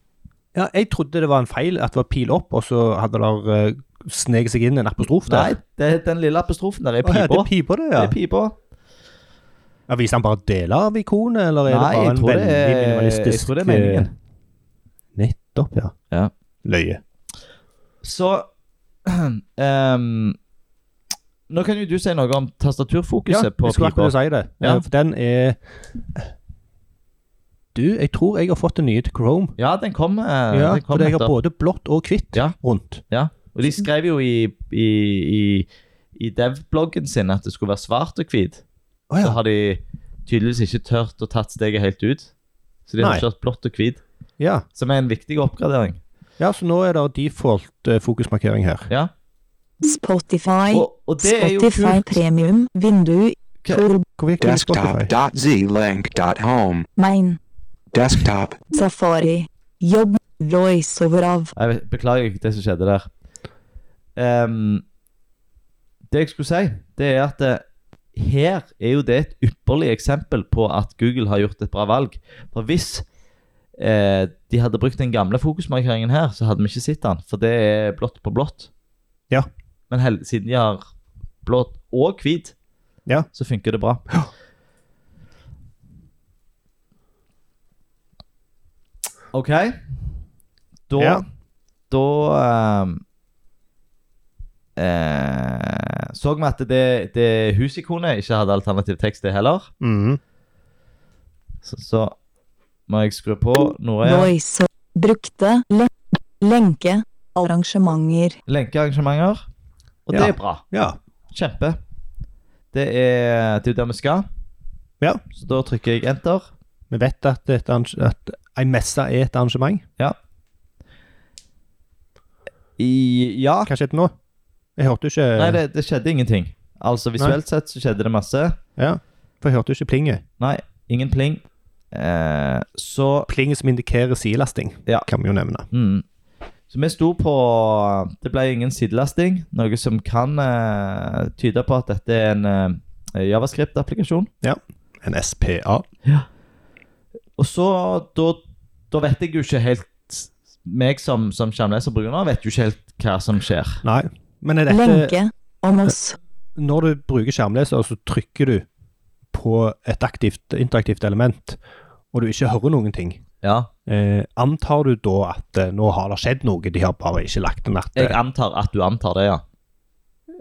Speaker 1: Ja, jeg trodde det var en feil, at det var pil opp, og så hadde det eh, sneket seg inn en apostrof
Speaker 2: Nei,
Speaker 1: der.
Speaker 2: det er den lille apostrofen der er
Speaker 1: Å, ja, det
Speaker 2: pipa.
Speaker 1: er pipa, det,
Speaker 2: Det
Speaker 1: ja.
Speaker 2: er pipa.
Speaker 1: ja. Viser han bare deler av ikonet, eller er
Speaker 2: Nei,
Speaker 1: det bare
Speaker 2: jeg
Speaker 1: en
Speaker 2: tror det,
Speaker 1: veldig
Speaker 2: er,
Speaker 1: minimalistisk
Speaker 2: jeg tror det er meningen.
Speaker 1: eh, Nettopp, ja.
Speaker 2: Ja.
Speaker 1: Løye.
Speaker 2: Så ehm, Nå kan jo du si noe om
Speaker 1: Ja,
Speaker 2: tastaturfokuset
Speaker 1: jeg
Speaker 2: på
Speaker 1: skulle
Speaker 2: pipa.
Speaker 1: akkurat si det. Ja.
Speaker 2: Ja.
Speaker 1: For den er Du, jeg tror jeg har fått den nye til Chrome.
Speaker 2: Ja, den kom, eh,
Speaker 1: Ja,
Speaker 2: den kom
Speaker 1: for jeg har
Speaker 2: nettopp.
Speaker 1: både blått og hvitt
Speaker 2: Ja.
Speaker 1: rundt.
Speaker 2: Og de skrev jo i, i, i, i dev-bloggen sin at det skulle være svart og hvit.
Speaker 1: Å
Speaker 2: Så
Speaker 1: ja.
Speaker 2: har de tydeligvis ikke tørt å tatt steget helt ut. Så de har
Speaker 1: Nei.
Speaker 2: kjørt blått og hvit,
Speaker 1: ja.
Speaker 2: som er en viktig oppgradering.
Speaker 1: Ja, så nå er det default eh, fokusmarkering her.
Speaker 2: Ja.
Speaker 3: Spotify.
Speaker 2: Og, og det er jo
Speaker 3: Spotify
Speaker 2: kult.
Speaker 3: premium. Vindu.
Speaker 2: Hva-
Speaker 3: Tor-
Speaker 1: Hvor virker det i Spotify?
Speaker 4: Desktop.zlink.home.
Speaker 3: Main.
Speaker 4: Desktop.
Speaker 3: Safari. Jobb. Voiceover av.
Speaker 2: Jeg vet- beklager ikke det som skjedde der. Ehm, det jeg skulle si, det er at eh, her er jo det et ypperlig eksempel på at Google har gjort et bra valg. For hvis eh, de hadde brukt den gamle fokusmarkeringen her, så hadde vi ikke sett den, for det er blått på blått.
Speaker 1: Ja.
Speaker 2: Men hel siden de har blått og hvit,
Speaker 1: Ja.
Speaker 2: så funker det bra. OK. Da
Speaker 1: Ja.
Speaker 2: da ehm, eh, så vi at det, det husikonet ikke hadde alternativ tekst, det heller.
Speaker 1: Mhm.
Speaker 2: Så, så må jeg skru på noe igjen.
Speaker 3: Voice. Brukte. Le lenke. Arrangementer.
Speaker 2: Lenkearrangementer. Og
Speaker 1: Ja.
Speaker 2: det er bra.
Speaker 1: Ja.
Speaker 2: Kjempe. Det er det er jo der vi skal.
Speaker 1: Ja.
Speaker 2: Så da trykker jeg enter.
Speaker 1: Vi vet at, et arrange- at ei messe er et arrangement.
Speaker 2: I, ja.
Speaker 1: Hva skjedde nå? Jeg hørte jo ikke
Speaker 2: Nei, det, det skjedde ingenting. Altså visuelt sett så skjedde det masse.
Speaker 1: Ja, For jeg hørte jo ikke plinget.
Speaker 2: Nei, ingen pling. Eh, så
Speaker 1: Plinget som indikerer sidelasting,
Speaker 2: Ja.
Speaker 1: kan vi jo nevne.
Speaker 2: Mm. Så vi sto på Det ble ingen sidelasting, noe som kan eh, tyde på at dette er en eh, Javascript-applikasjon.
Speaker 1: En SPA.
Speaker 2: Og så da, da vet jeg jo ikke helt Meg som, som skjermleserbruker nå, vet jo ikke helt hva som skjer.
Speaker 1: Nei. Men er dette
Speaker 3: Lenke om oss.
Speaker 1: Når du bruker skjermleser, så trykker du på et aktivt, interaktivt element, og du ikke hører noen ting.
Speaker 2: Ja,
Speaker 1: Eh, antar du da at eh, nå har det skjedd noe, de har bare ikke lagt eh, en natt?
Speaker 2: Jeg antar at du antar det, ja.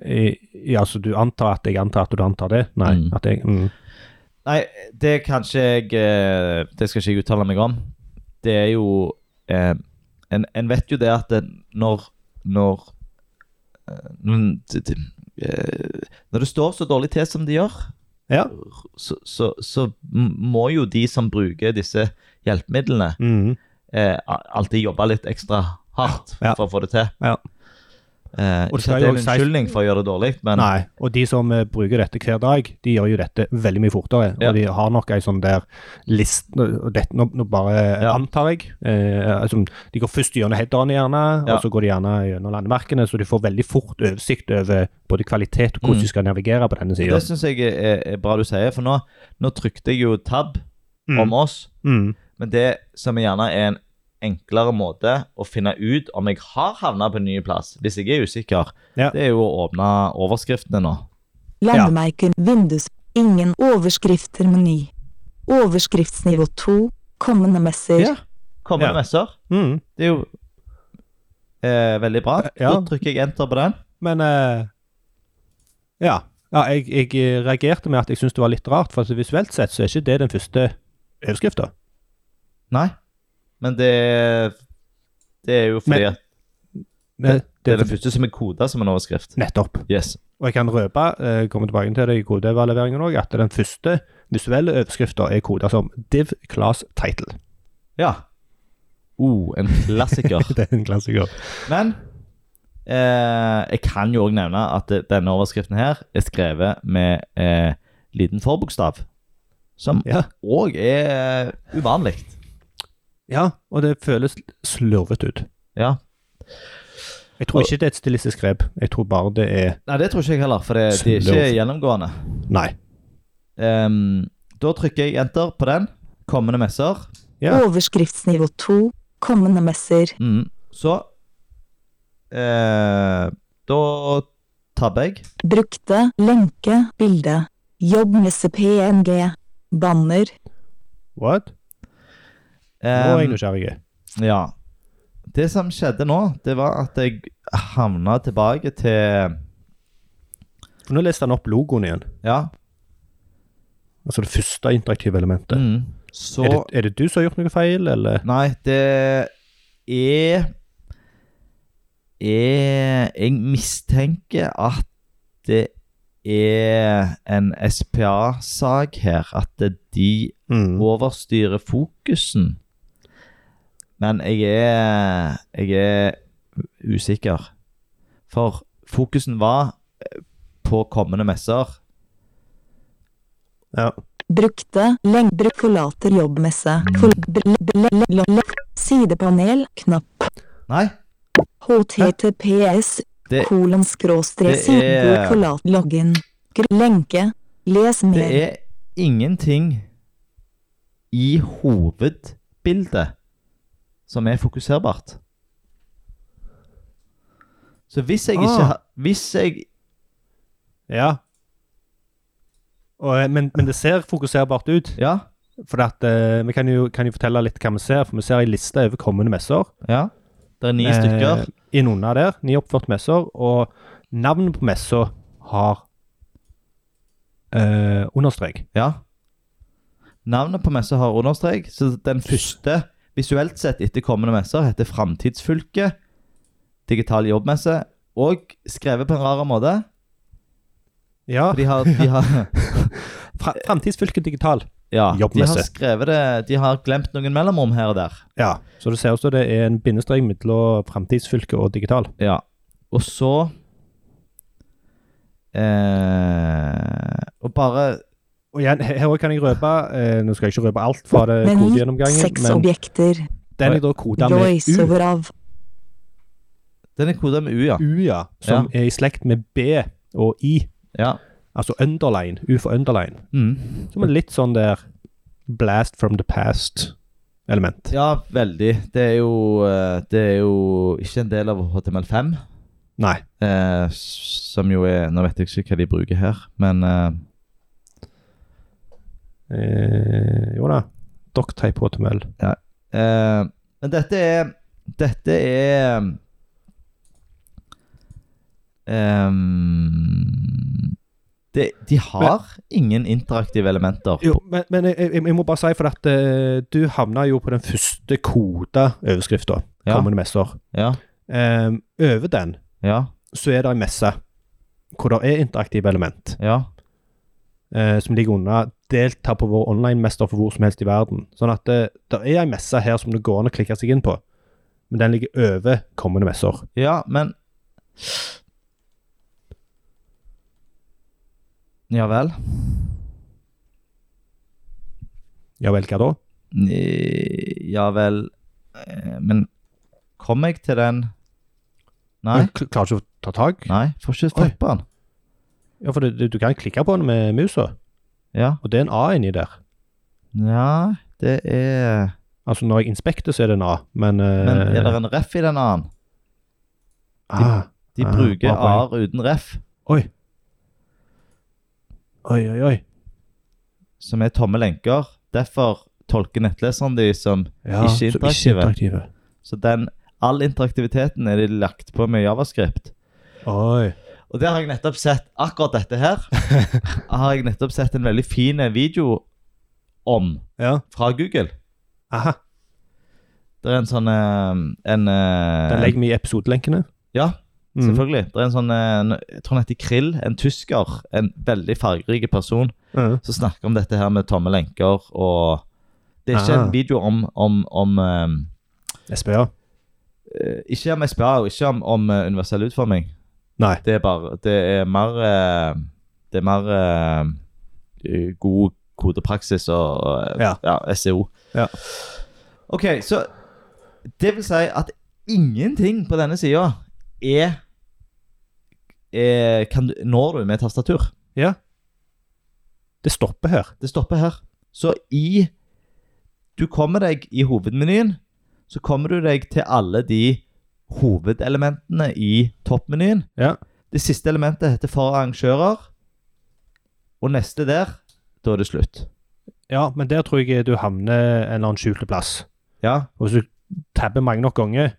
Speaker 1: Eh, Ja, så du antar at jeg antar at du antar det? Nei.
Speaker 2: Mm.
Speaker 1: At jeg, mm.
Speaker 2: Nei, det kan ikke jeg eh, Det skal ikke jeg uttale meg om. Det er jo eh, en, en vet jo det at det, når Når eh, n- d- d- eh, Når det står så dårlig til som det gjør,
Speaker 1: Ja.
Speaker 2: så, så, så m- må jo de som bruker disse hjelpemidlene,
Speaker 1: Mm.
Speaker 2: eh, a- alltid jobbe litt ekstra hardt
Speaker 1: Ja.
Speaker 2: for å få det til.
Speaker 1: Ja.
Speaker 2: Eh,
Speaker 1: Og det
Speaker 2: ikke
Speaker 1: skal
Speaker 2: at det
Speaker 1: jo
Speaker 2: er en
Speaker 1: sies-
Speaker 2: unnskyldning for å gjøre det dårlig, men
Speaker 1: Nei. Og de som eh, bruker dette hver dag, de gjør jo dette veldig mye fortere.
Speaker 2: Ja.
Speaker 1: Og de har nok ei sånn der list og dette, nå, nå bare
Speaker 2: Ja.
Speaker 1: antar jeg. Eh, altså, de går først gjennom headerne, gjerne,
Speaker 2: Ja.
Speaker 1: og så går de gjerne gjennom landemerkene, så de får veldig fort oversikt over både kvalitet og hvordan
Speaker 2: Mm.
Speaker 1: de skal navigere på denne
Speaker 2: det
Speaker 1: sida.
Speaker 2: syns jeg er, er bra du sier, for nå, nå trykte jeg jo tab om oss.
Speaker 1: Mm.
Speaker 2: Men det som gjerne er en enklere måte å finne ut om jeg har havna på en ny plass, hvis jeg er usikker,
Speaker 1: Ja.
Speaker 2: det er jo å åpne overskriftene nå.
Speaker 3: Landemerker. Vindus. Ingen overskrifter. Meny. Overskriftsnivå 2. Kommende messer.
Speaker 2: Ja. Kommende
Speaker 1: Ja.
Speaker 2: messer.
Speaker 1: Mm.
Speaker 2: Det er jo eh, veldig bra.
Speaker 1: Ja.
Speaker 2: Da trykker jeg enter på den.
Speaker 1: Men eh, ja. ja jeg, jeg reagerte med at jeg syntes det var litt rart, for altså, visuelt sett så er ikke det den første overskrifta.
Speaker 2: Nei. Men det Det er jo fordi
Speaker 1: Men-
Speaker 2: at det, det er det første som er koda som en overskrift.
Speaker 1: Nettopp.
Speaker 2: Yes.
Speaker 1: Og jeg kan røpe, eh, komme tilbake til det i kodeevalueringen òg, at den første visuelle overskrifta er koda som div class title.
Speaker 2: Ja. Oh, en klassiker.
Speaker 1: Det er en klassiker.
Speaker 2: Men eh, jeg kan jo òg nevne at det, denne overskriften her er skrevet med eh, liten forbokstav. Som
Speaker 1: Ja.
Speaker 2: òg er eh, uvanlig.
Speaker 1: ja, og det føles slurvete ut.
Speaker 2: Ja.
Speaker 1: Jeg tror ikke det er et stilistisk grep. Jeg tror bare det er
Speaker 2: Nei, det tror ikke jeg heller, for det, de er ikke
Speaker 1: Slurv.
Speaker 2: gjennomgående.
Speaker 1: Nei.
Speaker 2: Ehm, da trykker jeg enter på den. Kommende messer.
Speaker 1: Ja.
Speaker 3: Overskriftsnivå 2. Kommende messer.
Speaker 2: Mm. Så eh, Da tabber jeg.
Speaker 3: Brukte. Lenke. Bilde. Jobb med CPNG. Banner.
Speaker 1: What? Nå er jeg
Speaker 2: Ehm,
Speaker 1: nysgjerrig.
Speaker 2: Ja. Det som skjedde nå, det var at jeg havna tilbake til
Speaker 1: For nå leste han opp logoen igjen.
Speaker 2: Ja.
Speaker 1: Altså det første interaktive elementet.
Speaker 2: Mm, så
Speaker 1: Er, det, er det du som har gjort noe feil, eller?
Speaker 2: Nei, det er er Jeg mistenker at det er en SPA-sak her. At de
Speaker 1: Mm.
Speaker 2: overstyrer fokusen. Men jeg er Jeg er usikker. For fokusen var eh, på kommende messer.
Speaker 1: Ja.
Speaker 3: Brukte. Lengde. Forlater jobbmesse. For, bl, bl, bl, bl, sidepanel. Knapp.
Speaker 2: Nei,
Speaker 3: HTTPS.
Speaker 2: Det-
Speaker 3: Kolon skråstrek.
Speaker 2: det er-
Speaker 3: Sidegod forlat login. Gr- Lenke. Les
Speaker 2: det
Speaker 3: mer.
Speaker 2: er ingenting i hovedbildet som er fokuserbart. Så hvis jeg ikke
Speaker 1: Ah.
Speaker 2: ha- Hvis jeg
Speaker 1: ja. Og, eh, men, men det ser fokuserbart ut.
Speaker 2: Ja.
Speaker 1: For at, eh, vi kan jo, kan jo fortelle litt hva vi ser. For vi ser ei liste over kommende messer.
Speaker 2: ja. Det er ni stykker.
Speaker 1: Eh, Innunder der. Ni oppførte messer. Og navnet på messa har eh, understrek.
Speaker 2: Ja. Navnet på messa har understrek, så den første visuelt sett etter kommende messer heter Framtidsfylket. Digital jobbmesse. Og skrevet på en rar måte.
Speaker 1: Ja.
Speaker 2: De har, de har,
Speaker 1: Fra, framtidsfylket digital.
Speaker 2: ja, de har
Speaker 1: Jobbmesse.
Speaker 2: skrevet det De har glemt noen mellomrom her og der.
Speaker 1: Ja. Så det ser ut som det er en bindestrek mellom framtidsfylket og digital.
Speaker 2: Ja. Og så eh, Og bare
Speaker 1: Og igjen, her også kan jeg røpe eh, Nå skal jeg ikke røpe alt fra det
Speaker 3: Meny,
Speaker 1: kodegjennomgangen,
Speaker 3: seks
Speaker 1: men
Speaker 3: objekter,
Speaker 1: den er da koda med U,
Speaker 3: voiceover av
Speaker 2: Den er koda med U, ja.
Speaker 1: U ja, som er i slekt med B og I.
Speaker 2: ja.
Speaker 1: Altså underline. U for underline.
Speaker 2: Mm.
Speaker 1: Som er litt sånn der blast from the past-element.
Speaker 2: ja, veldig. Det er jo eh, Det er jo ikke en del av HTML5.
Speaker 1: Nei.
Speaker 2: Eh, s- som jo er Nå vet jeg ikke hva de bruker her, men eh,
Speaker 1: Eh, jo da. Docktype HTML.
Speaker 2: eh, Men dette er Dette er ehm, eh, det, de har ingen interaktive elementer.
Speaker 1: Jo, men, men jeg, jeg, jeg må bare si, for at eh, du havna jo på den første koda overskrifta
Speaker 2: Ja.
Speaker 1: kommende messer.
Speaker 2: Ja,
Speaker 1: Eh, over den
Speaker 2: ja,
Speaker 1: så er det ei messe hvor det er interaktive element,
Speaker 2: ja.
Speaker 1: eh, som ligger unna 'delta på vår online-mester for hvor som helst i verden'. Sånn at det, det er ei messe her som det går an å klikke seg inn på, men den ligger over kommende messer.
Speaker 2: Ja, men Ja vel.
Speaker 1: Ja vel, hva da?
Speaker 2: Ni- Ja vel eh, Men kom jeg til den Nei,
Speaker 1: Men kl- Klarer du ikke å ta tak?
Speaker 2: nei, får ikke
Speaker 1: Oi.
Speaker 2: fatt på den.
Speaker 1: Ja, for du, du, du kan klikke på den med musa,
Speaker 2: Ja.
Speaker 1: og det er en A inni der.
Speaker 2: ja, det er
Speaker 1: Altså når jeg inspekter, så er det en A, men, eh,
Speaker 2: Men er det en ref i den annen?
Speaker 1: ah,
Speaker 2: De
Speaker 1: Ah,
Speaker 2: bruker
Speaker 1: bra
Speaker 2: A-er uten ref,
Speaker 1: Oi. Oi, oi, oi.
Speaker 2: som er tomme lenker. Derfor tolker nettleseren de som
Speaker 1: Ja,
Speaker 2: Ikke
Speaker 1: så Ikke
Speaker 2: interaktive.
Speaker 1: interaktive.
Speaker 2: Så den, all interaktiviteten er de lagt på med javascript.
Speaker 1: Oi.
Speaker 2: Og der har jeg nettopp sett akkurat dette her. har jeg nettopp sett en veldig fin video om
Speaker 1: Ja.
Speaker 2: fra Google.
Speaker 1: Aha.
Speaker 2: Det er en sånn eh, en, eh,
Speaker 1: Den legger vi i episodelenkene.
Speaker 2: Ja,
Speaker 1: Mm.
Speaker 2: selvfølgelig. Det er en sånn eh, en, Jeg tror han heter Krill, en tysker. En veldig fargerik person
Speaker 1: Ja.
Speaker 2: som snakker om dette her med tomme lenker og Det er ikke
Speaker 1: Ah.
Speaker 2: en video om, om, om eh,
Speaker 1: SPA.
Speaker 2: eh, Ikke om SPA og ikke om, om eh, universell utforming.
Speaker 1: Nei.
Speaker 2: Det er bare Det er mer eh, Det er mer eh, god kodepraksis og, og eh, ja.
Speaker 1: Ja.
Speaker 2: SEO.
Speaker 1: Ja.
Speaker 2: OK, så Det vil si at ingenting på denne sida er, er kan du, Når du med tastatur.
Speaker 1: Ja. Det stopper her.
Speaker 2: Det stopper her. Så i Du kommer deg i hovedmenyen, så kommer du deg til alle de hovedelementene i toppmenyen.
Speaker 1: Ja.
Speaker 2: Det siste elementet heter for arrangører. Og neste der, da er det slutt.
Speaker 1: Ja, men der tror jeg du havner en eller annen skjulte plass.
Speaker 2: Ja.
Speaker 1: Og hvis du tabber mange nok ganger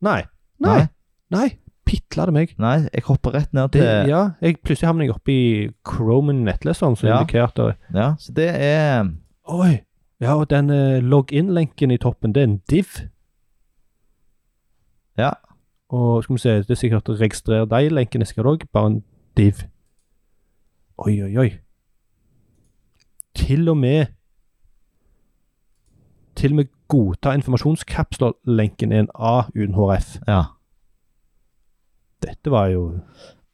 Speaker 1: Nei. Nei.
Speaker 2: Nei.
Speaker 1: Nei. Pitla det meg.
Speaker 2: Nei, jeg hopper rett ned
Speaker 1: Det,
Speaker 2: til
Speaker 1: ja, jeg plutselig havner jeg oppi Chromen nettleseren, som
Speaker 2: Ja.
Speaker 1: indikerte
Speaker 2: ja, så det er
Speaker 1: Oi. Ja, og den eh, login-lenken i toppen, det er en div.
Speaker 2: Ja.
Speaker 1: Og skal vi se, det er sikkert registrer deg-lenken er sikkert òg bare en div. Oi, oi, oi. Til og med Til og med godta informasjonskapsler-lenken er en A uten HRF.
Speaker 2: Ja.
Speaker 1: Dette var jo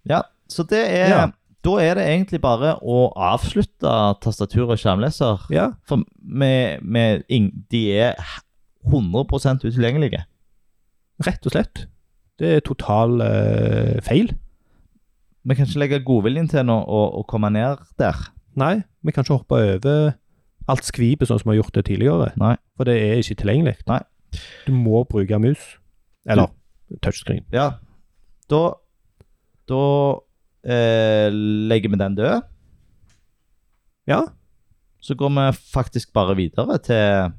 Speaker 2: ja så det er
Speaker 1: Ja.
Speaker 2: Da er det egentlig bare å avslutte tastatur og skjermleser.
Speaker 1: Ja.
Speaker 2: For med, med ing- De er 100 utilgjengelige.
Speaker 1: Rett og slett. Det er total eh, feil.
Speaker 2: Vi kan ikke legge godviljen til nå å å komme ned der.
Speaker 1: Nei, vi kan ikke hoppe over alt skvipet sånn som vi har gjort det tidligere.
Speaker 2: Nei.
Speaker 1: For det er ikke tilgjengelig.
Speaker 2: Nei.
Speaker 1: Du må bruke mus. Eller touchscreen.
Speaker 2: Ja. Da Da eh, legger vi den død.
Speaker 1: Ja.
Speaker 2: Så går vi faktisk bare videre til,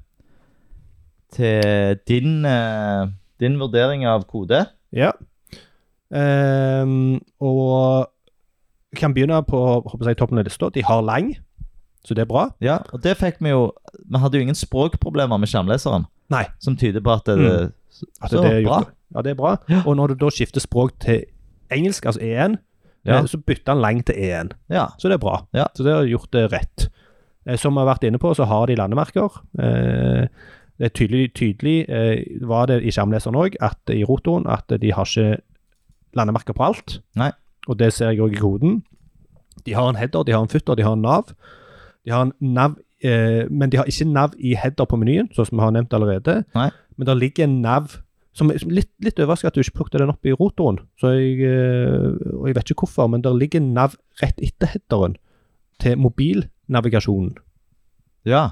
Speaker 2: til din, eh, din vurdering av kode.
Speaker 1: ja. Ehm, og kan begynne på håper jeg, toppen av lista. De har lang, så det er bra.
Speaker 2: Ja, og det fikk vi jo Vi hadde jo ingen språkproblemer med skjermleseren.
Speaker 1: Nei.
Speaker 2: Som tyder på at det,
Speaker 1: Mm.
Speaker 2: så,
Speaker 1: At det er
Speaker 2: bra.
Speaker 1: gjort. Ja, det er bra. Og når du da skifter språk til engelsk, altså EN,
Speaker 2: Ja.
Speaker 1: Eh, Så bytta han lang til E E1,
Speaker 2: Ja.
Speaker 1: så det er bra.
Speaker 2: Ja.
Speaker 1: Så det har gjort det rett. Eh, Som vi har vært inne på, så har de landemerker. Eh, Det er tydelig, tydelig eh, var det i skjermleseren òg, at i rotoren, at de har ikke landemerker på alt.
Speaker 2: Nei.
Speaker 1: Og det ser jeg òg i koden. De har en header, de har en footer, de har en nav. De har en nav, eh, men de har ikke nav i header på menyen, sånn som vi har nevnt allerede.
Speaker 2: Nei.
Speaker 1: Men der ligger en nav som som Litt, litt overraskende at du ikke plukket den opp i rotoren, så jeg, eh, og jeg vet ikke hvorfor, men der ligger en nav rett etter headeren til mobilnavigasjonen.
Speaker 2: ja.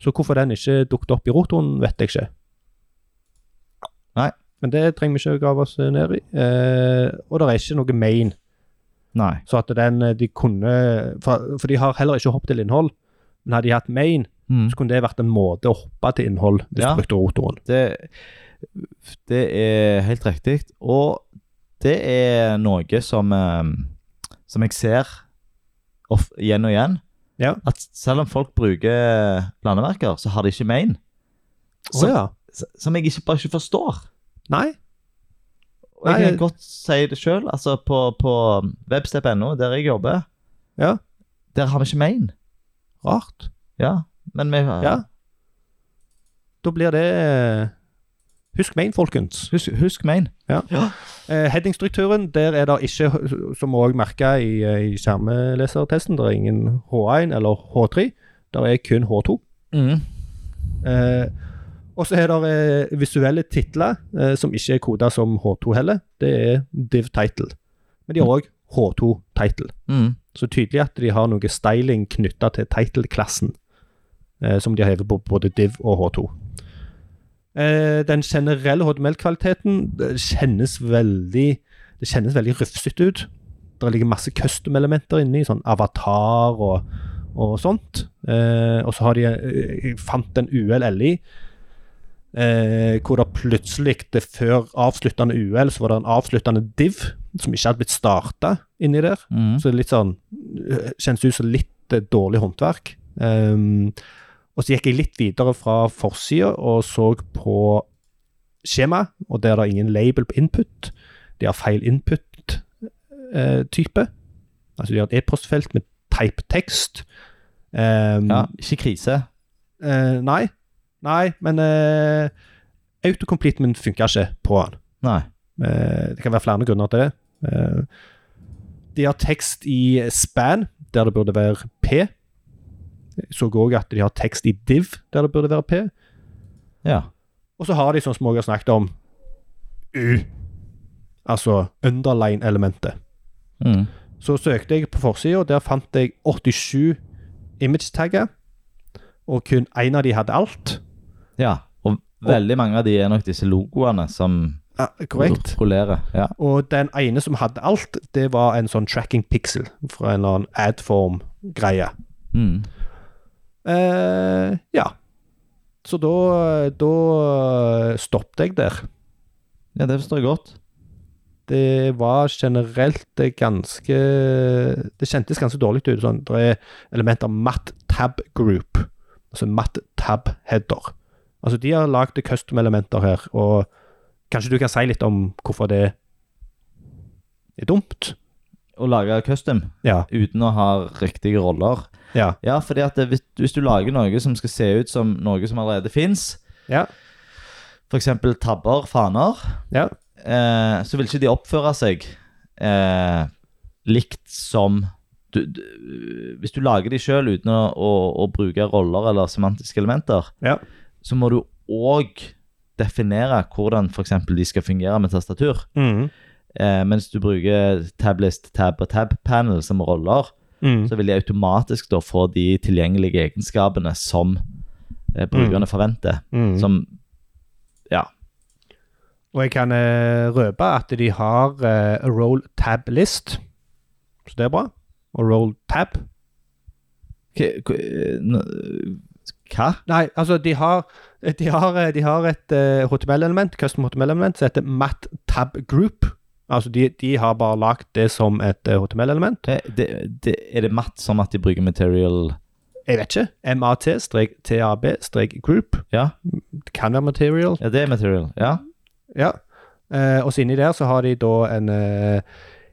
Speaker 1: Så hvorfor den ikke dukket opp i rotoren, vet jeg ikke.
Speaker 2: Nei.
Speaker 1: Men det trenger vi ikke å grave oss ned i. Eh, og det er ikke noe main.
Speaker 2: Nei.
Speaker 1: Så at den eh, de kunne For, for de har heller ikke hopp til innhold. Men hadde de hatt main,
Speaker 2: Mm.
Speaker 1: så kunne det vært en måte å hoppe til innhold hvis
Speaker 2: Ja.
Speaker 1: du brukte rotoren.
Speaker 2: Det, det er helt riktig. Og det er noe som, eh, som jeg ser of, igjen og igjen.
Speaker 1: Ja.
Speaker 2: At selv om folk bruker landemerker, så har de ikke main.
Speaker 1: Så,
Speaker 2: Som, som jeg ikke, bare ikke forstår.
Speaker 1: Nei.
Speaker 2: Og jeg
Speaker 1: Nei,
Speaker 2: kan godt si det sjøl. Altså på, på webstep.no, der jeg jobber,
Speaker 1: Ja.
Speaker 2: der har vi ikke main.
Speaker 1: Rart.
Speaker 2: Ja, men vi
Speaker 1: Ja. Da blir det eh, Husk main, folkens.
Speaker 2: Husk, husk main.
Speaker 1: Eh, Headingstrukturen, der er det ikke, eh, som vi òg merka i, eh, i skjermlesertesten, det er ingen H1 eller H3. Der er kun H2. Mm. Eh, og så er det eh, visuelle titler eh, som ikke er koda som H2 heller. Det er div title. Men de har òg H2 title.
Speaker 2: Mm.
Speaker 1: Så tydelig at de har noe styling knytta til title-klassen, eh, som de har hevet på både div og H2. Eh, den generelle HTML-kvaliteten det kjennes veldig det kjennes veldig rufsete ut. Det ligger masse custom-elementer inni, sånn avatar og, og sånt. Eh, og så har de eh, Jeg fant en UL-LI. Eh, hvor det plutselig, det før avsluttende UL, så var det en avsluttende div som ikke hadde blitt starta inni der.
Speaker 2: Mm.
Speaker 1: Så det er litt sånn øh, Kjennes ut som litt eh, dårlig håndverk. Ehm, og så gikk jeg litt videre fra forsida og så på skjema, og der er det ingen label på input. De har feil input-type. altså de har et e-postfelt med type tekst. Ehm,
Speaker 2: Ja, ikke krise.
Speaker 1: eh, nei. Nei, men uh, autocomplete min funka ikke på han.
Speaker 2: Nei.
Speaker 1: Eh, Det kan være flere grunner til det. Eh, De har tekst i span, der det burde være P. Jeg så òg at de har tekst i div, der det burde være P.
Speaker 2: Ja.
Speaker 1: Og så har de, sånn som jeg har snakket om, U. Altså underline-elementet.
Speaker 2: Mm.
Speaker 1: Så søkte jeg på forsida, der fant jeg 87 image-tagger. Og kun én av de hadde alt.
Speaker 2: ja. Og veldig mange av de er nok disse logoene som
Speaker 1: Ja, korrekt.
Speaker 2: rullerer. Ja.
Speaker 1: Og den ene som hadde alt, det var en sånn tracking pixel fra en eller annen adform-greie.
Speaker 2: Mm.
Speaker 1: Eh, ja. Så da, da stoppet jeg der.
Speaker 2: ja, det forstår jeg godt.
Speaker 1: Det var generelt eh, ganske Det kjentes ganske dårlig ut. Sånn. Det er elementer av matt tab group, altså matt tab header. Altså, de har lagd custom-elementer her, og kanskje du kan si litt om hvorfor det er dumt?
Speaker 2: Å lage custom
Speaker 1: Ja.
Speaker 2: uten å ha riktige roller.
Speaker 1: Ja.
Speaker 2: Ja, fordi at det, hvis, hvis du lager noe som skal se ut som noe som allerede fins,
Speaker 1: Ja.
Speaker 2: f.eks. tabber, faner,
Speaker 1: Ja.
Speaker 2: eh, så vil ikke de oppføre seg eh, likt som du, du, Hvis du lager de sjøl uten å, å, å bruke roller eller semantiske elementer,
Speaker 1: Ja.
Speaker 2: så må du òg definere hvordan f.eks. de skal fungere med tastatur.
Speaker 1: Mm.
Speaker 2: Eh, mens du bruker tablist, tab og tab-panel som roller,
Speaker 1: Mm.
Speaker 2: så vil de automatisk da få de tilgjengelige egenskapene som eh, brukerne forventer.
Speaker 1: Mm.
Speaker 2: Som
Speaker 1: Og jeg kan eh, røpe at de har eh, roll tab list, så det er bra. Og roll tab.
Speaker 2: K- k- eh, n- Hva?
Speaker 1: Nei, altså de har, de har, eh, de har et eh, HTML-element, custom HTML-element, som heter mat tab group. Altså de, de har bare lagd det som et eh, HTML-element.
Speaker 2: Eh, Det, det, er det matt som at de bruker material
Speaker 1: Jeg vet ikke. mat-tab-group.
Speaker 2: Ja,
Speaker 1: Det kan være material.
Speaker 2: ja det er material. Ja.
Speaker 1: Ja. Eh, og så inni der så har de da en, eh,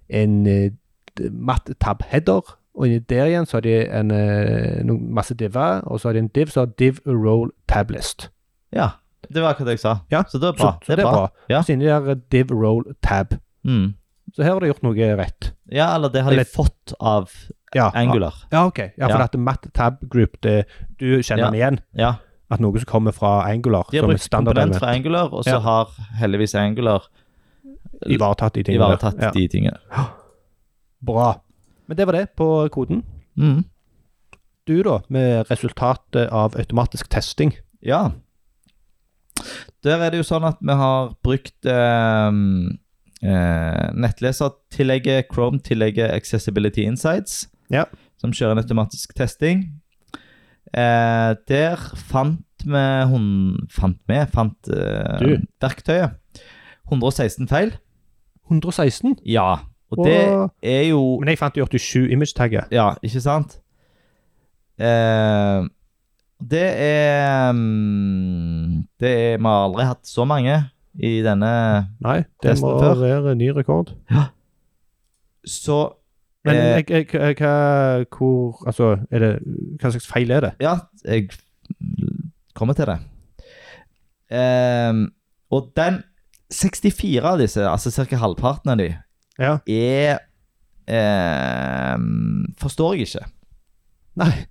Speaker 1: en eh, d- matt tab header, og inni der igjen så har de en, eh, noen masse diver, og så har de en div, så har div roll tab list.
Speaker 2: Ja, det var akkurat det jeg sa.
Speaker 1: Ja,
Speaker 2: Så det er
Speaker 1: Så,
Speaker 2: bra.
Speaker 1: så det er bra.
Speaker 2: Ja.
Speaker 1: Så inni der er div roll tab.
Speaker 2: Mm.
Speaker 1: Så her har du gjort noe rett.
Speaker 2: ja, eller det har de
Speaker 1: Eller-
Speaker 2: fått av
Speaker 1: Ja,
Speaker 2: Angular.
Speaker 1: Ja, ok. Ja, for
Speaker 2: Ja.
Speaker 1: at matt tab group, det, du kjenner
Speaker 2: Ja.
Speaker 1: den igjen.
Speaker 2: Ja.
Speaker 1: At noe som kommer fra Angular,
Speaker 2: De har
Speaker 1: som et
Speaker 2: brukt komponent
Speaker 1: standardelement,
Speaker 2: fra Angular, og så
Speaker 1: Ja.
Speaker 2: har heldigvis Angular
Speaker 1: ivaretatt de tingene. der.
Speaker 2: ivaretatt
Speaker 1: Ja.
Speaker 2: de tingene.
Speaker 1: Bra. Men det var det på koden.
Speaker 2: Mm.
Speaker 1: Du, da, med resultatet av automatisk testing.
Speaker 2: Ja. Der er det jo sånn at vi har brukt eh, eh, nettlesertillegget, Chrome-tillegget Accessibility Insights,
Speaker 1: Ja.
Speaker 2: som kjører en automatisk testing. Eh, der fant vi hun, Fant vi? Fant eh,
Speaker 1: Du.
Speaker 2: verktøyet. 116 feil.
Speaker 1: 116?
Speaker 2: Ja. Og
Speaker 1: Wow.
Speaker 2: det er jo
Speaker 1: Men jeg fant 87 image-tagger.
Speaker 2: Ja, ikke sant? Eh, det er mm, Det er Vi har aldri hatt så mange i denne
Speaker 1: Nei, det
Speaker 2: Testen
Speaker 1: må
Speaker 2: før.
Speaker 1: være ny rekord.
Speaker 2: Så
Speaker 1: Men
Speaker 2: eh,
Speaker 1: jeg, jeg, jeg, hva, hvor, altså, er det, hva slags feil er det?
Speaker 2: Ja, jeg kommer til det. Eh, og den 64 av disse, altså ca. halvparten av de,
Speaker 1: Ja.
Speaker 2: er eh, Forstår jeg ikke.
Speaker 1: Nei.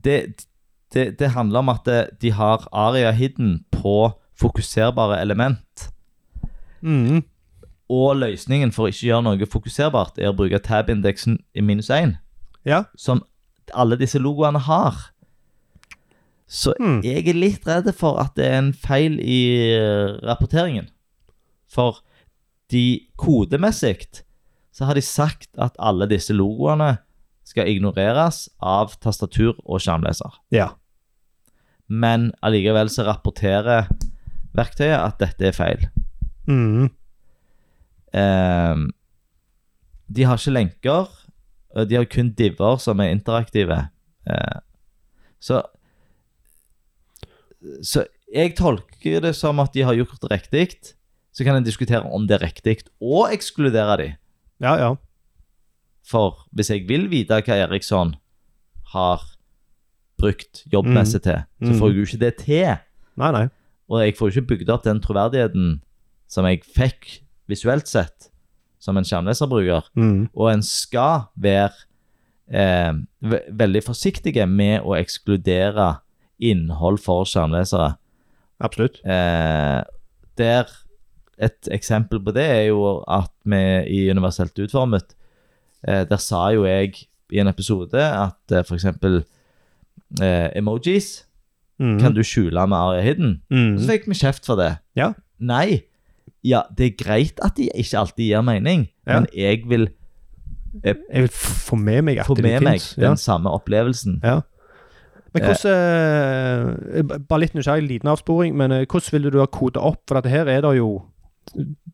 Speaker 2: det, det, det handler om at eh, de har aria hidden på fokuserbare element.
Speaker 1: Mm.
Speaker 2: Og løsningen for å ikke gjøre noe fokuserbart er å bruke tab-indeksen i minus 1,
Speaker 1: Ja.
Speaker 2: som alle disse logoene har. Så
Speaker 1: Hmm.
Speaker 2: jeg er litt redd for at det er en feil i eh, rapporteringen. For de kodemessig så har de sagt at alle disse logoene skal ignoreres av tastatur og skjermleser.
Speaker 1: Ja.
Speaker 2: men allikevel så rapporterer verktøyet at dette er feil.
Speaker 1: Mm.
Speaker 2: Ehm, de har ikke lenker, og de har kun diver som er interaktive. Eh, så Så jeg tolker det som at de har gjort det riktig. Så kan en diskutere om det er riktig, og ekskludere de.
Speaker 1: Ja, ja.
Speaker 2: For hvis jeg vil vite hva Eriksson har brukt jobbmessig til, så
Speaker 1: Mm.
Speaker 2: får jeg jo ikke det til.
Speaker 1: Nei, nei.
Speaker 2: Og jeg får jo ikke bygd opp den troverdigheten som jeg fikk visuelt sett som en skjermleserbruker.
Speaker 1: Mm.
Speaker 2: Og en skal være eh, ve veldig forsiktige med å ekskludere innhold for skjermlesere.
Speaker 1: Absolutt.
Speaker 2: Eh, der et eksempel på det er jo at vi i Universelt utformet eh, Der sa jo jeg i en episode at eh, f.eks. Eh, emojis
Speaker 1: Mm.
Speaker 2: kan du skjule med Aria Hidden.
Speaker 1: Mm.
Speaker 2: Så fikk vi kjeft for det.
Speaker 1: Ja.
Speaker 2: Nei. Ja, det er greit at de ikke alltid gir mening,
Speaker 1: Ja.
Speaker 2: men jeg vil
Speaker 1: Jeg vil f- få med meg at
Speaker 2: få
Speaker 1: det
Speaker 2: med meg
Speaker 1: finnes.
Speaker 2: den Eh. samme opplevelsen.
Speaker 1: Ja. Men hvordan eh, b- Bare litt nysgjerrig, liten avsporing, men eh, hvordan ville du ha kodet opp? For dette her er det jo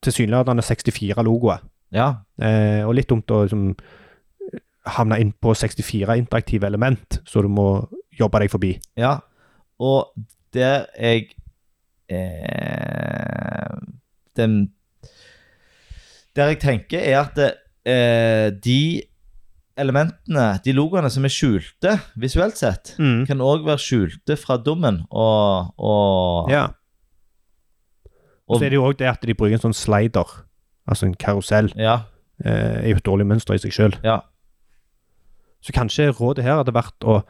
Speaker 1: tilsynelatende 64 logoer.
Speaker 2: Ja.
Speaker 1: Eh, og litt dumt å liksom, havne inn på 64 interaktive element, så du må jobbe deg forbi.
Speaker 2: ja. Og der jeg eh, Den Der jeg tenker, er at eh, de elementene, de logoene som er skjulte visuelt sett,
Speaker 1: Mm.
Speaker 2: kan òg være skjulte fra dommen og, og,
Speaker 1: Ja. Og
Speaker 2: og
Speaker 1: så er det jo òg det at de bruker en sånn slider, altså en karusell,
Speaker 2: Ja,
Speaker 1: eh, er jo et dårlig mønster i seg sjøl.
Speaker 2: ja.
Speaker 1: Så kanskje rådet her hadde vært å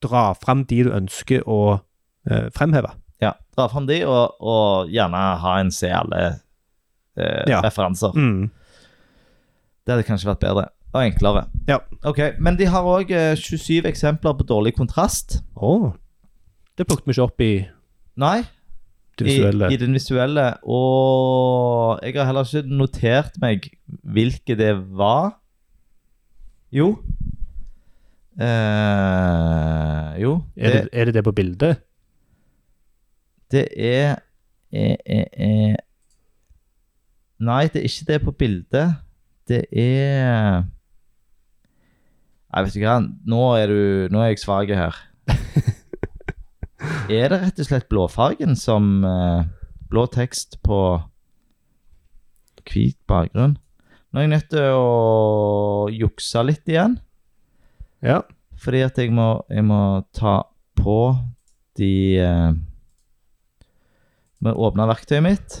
Speaker 1: dra fram de du ønsker å eh, fremheve.
Speaker 2: Ja, dra fram de, og, og gjerne ha en se alle eh,
Speaker 1: Ja.
Speaker 2: referanser.
Speaker 1: Mm.
Speaker 2: Det hadde kanskje vært bedre og enklere.
Speaker 1: Ja.
Speaker 2: Ok, Men de har òg eh, 27 eksempler på dårlig kontrast.
Speaker 1: Å. Det plukket vi ikke opp i
Speaker 2: Nei,
Speaker 1: det
Speaker 2: i,
Speaker 1: visuelle.
Speaker 2: i den visuelle. Og jeg har heller ikke notert meg hvilke det var. Jo. Eh, jo.
Speaker 1: er, det, er det det på bildet?
Speaker 2: Det er, er, er, er Nei, det er ikke det på bildet. Det er Nei, vet du hva, nå er, du, nå er jeg svak her. er det rett og slett blåfargen som eh, Blå tekst på hvit bakgrunn? Nå er jeg nødt til å jukse litt igjen.
Speaker 1: Ja.
Speaker 2: Fordi at jeg må, jeg må ta på de eh, Må åpne verktøyet mitt,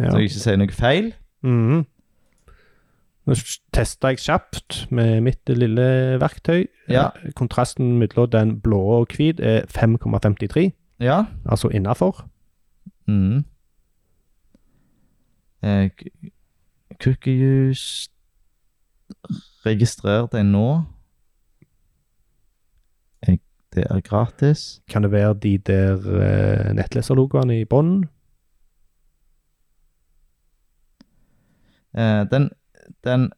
Speaker 1: ja.
Speaker 2: så jeg ikke sier noe feil.
Speaker 1: Mhm. Nå s- testa jeg kjapt med mitt lille verktøy. Eh,
Speaker 2: Ja.
Speaker 1: Kontrasten mellom den blå og hvit er 5,53,
Speaker 2: Ja.
Speaker 1: altså innafor.
Speaker 2: Mm. Eh, k- cookie juice Registrer deg nå. Jeg, det er gratis.
Speaker 1: Kan det være de der eh, nettleserlogoene i bånn?
Speaker 2: Eh, den, den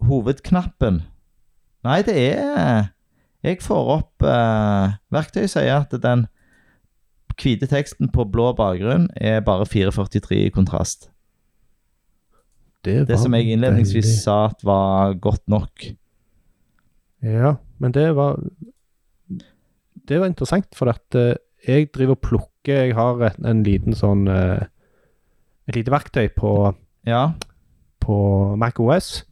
Speaker 2: hovedknappen Nei, det er Jeg får opp eh, Verktøyet sier at den hvite teksten på blå bakgrunn er bare 443 i kontrast. Det
Speaker 1: var
Speaker 2: som jeg innledningsvis
Speaker 1: veldig-
Speaker 2: sa at var godt nok.
Speaker 1: Ja, men det var Det var interessant, for at eh, jeg driver og plukker Jeg har et, en liten sånn eh, Et lite verktøy på
Speaker 2: Ja.
Speaker 1: på MacOS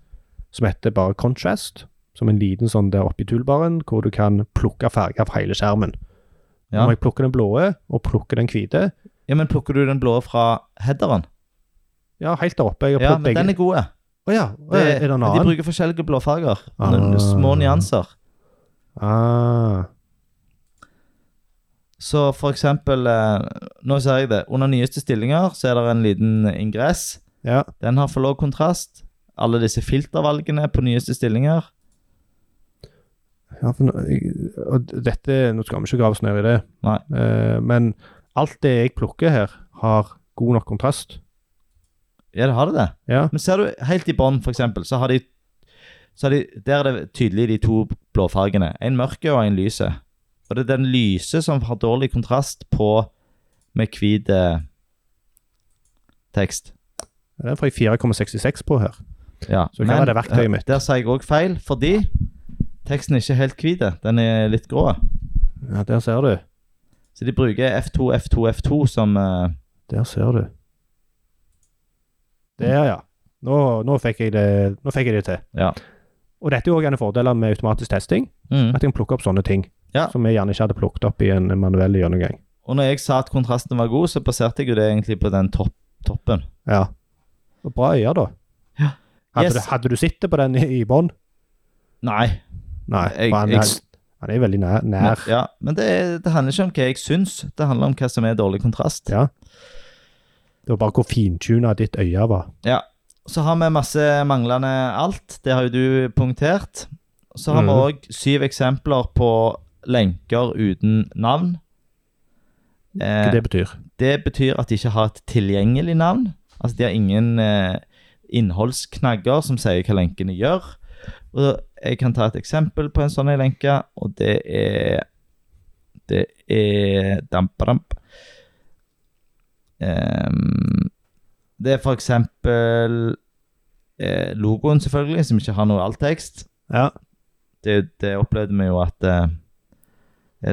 Speaker 1: som heter bare Contrast. Som en liten sånn der oppi toolbaren, hvor du kan plukke farger fra hele skjermen. Nå
Speaker 2: ja.
Speaker 1: må jeg plukke den blå og plukke den hvite.
Speaker 2: Ja, men plukker du den blå fra headeren?
Speaker 1: Ja, helt der oppe. Jeg har
Speaker 2: Ja,
Speaker 1: prøvd
Speaker 2: men den
Speaker 1: begge.
Speaker 2: er god.
Speaker 1: Å ja, å ja, er det en
Speaker 2: De
Speaker 1: annen?
Speaker 2: bruker forskjellige blåfarger.
Speaker 1: Ah.
Speaker 2: N- Små nyanser.
Speaker 1: Ah,
Speaker 2: Så for eksempel eh, Nå ser jeg det. Under nyeste stillinger så er det en liten ingress.
Speaker 1: ja.
Speaker 2: Den har for lav kontrast. Alle disse filtervalgene på nyeste stillinger.
Speaker 1: ja for, nå- jeg- og dette Nå skal vi ikke grave oss ned i det,
Speaker 2: Nei.
Speaker 1: Eh, men alt det jeg plukker her, har god nok kontrast.
Speaker 2: Ja, det har det det.
Speaker 1: Ja.
Speaker 2: Men ser du helt i bånn, for eksempel, så har de, så har de Der er det tydelig de to blåfargene. En mørke og en lyse. Og det er den lyse som har dårlig kontrast på med hvit eh, tekst.
Speaker 1: Den får jeg 4,66 på her.
Speaker 2: Ja, eh,
Speaker 1: Så hva var det verktøyet mitt?
Speaker 2: Der sa jeg òg feil, fordi teksten er ikke helt hvit. Den er litt grå.
Speaker 1: Ja, Der ser du.
Speaker 2: Så de bruker F2, F2, F2 som eh,
Speaker 1: Der ser du. Der, ja. Nå, nå, fikk jeg det, nå fikk jeg det til.
Speaker 2: Ja.
Speaker 1: Og dette er jo også en av fordelene med automatisk testing.
Speaker 2: Mm.
Speaker 1: At jeg kan plukke opp sånne ting
Speaker 2: Ja.
Speaker 1: som jeg gjerne ikke hadde plukket opp i en manuell gjennomgang.
Speaker 2: Og når jeg sa at kontrasten var god, så baserte jeg jo det egentlig på den topp, toppen.
Speaker 1: Ja. Og bra øye, da.
Speaker 2: Ja.
Speaker 1: Hadde,
Speaker 2: Yes.
Speaker 1: du, hadde du sittet på den i, i bånn?
Speaker 2: Nei.
Speaker 1: Nei.
Speaker 2: Jeg-
Speaker 1: for han,
Speaker 2: jeg-
Speaker 1: er- han er veldig nær.
Speaker 2: Men,
Speaker 1: nær.
Speaker 2: ja, men det, er- det handler ikke om hva jeg syns, det handler om hva som er dårlig kontrast.
Speaker 1: Ja. Det var bare hvor fintuna ditt øye var.
Speaker 2: Ja. Så har vi masse manglende alt. Det har jo du punktert. Så har
Speaker 1: Mhm.
Speaker 2: vi òg syv eksempler på lenker uten navn.
Speaker 1: Hva
Speaker 2: Eh,
Speaker 1: det betyr.
Speaker 2: det betyr at de ikke har et tilgjengelig navn. Altså, de har ingen eh, innholdsknagger som sier hva lenkene gjør. Og jeg kan ta et eksempel på en sånn en lenke, og det er Det er dampadamp. Ehm, det er for eksempel eh, logoen, selvfølgelig, som ikke har noe alltekst
Speaker 1: Ja.
Speaker 2: det, det opplevde vi jo at eh,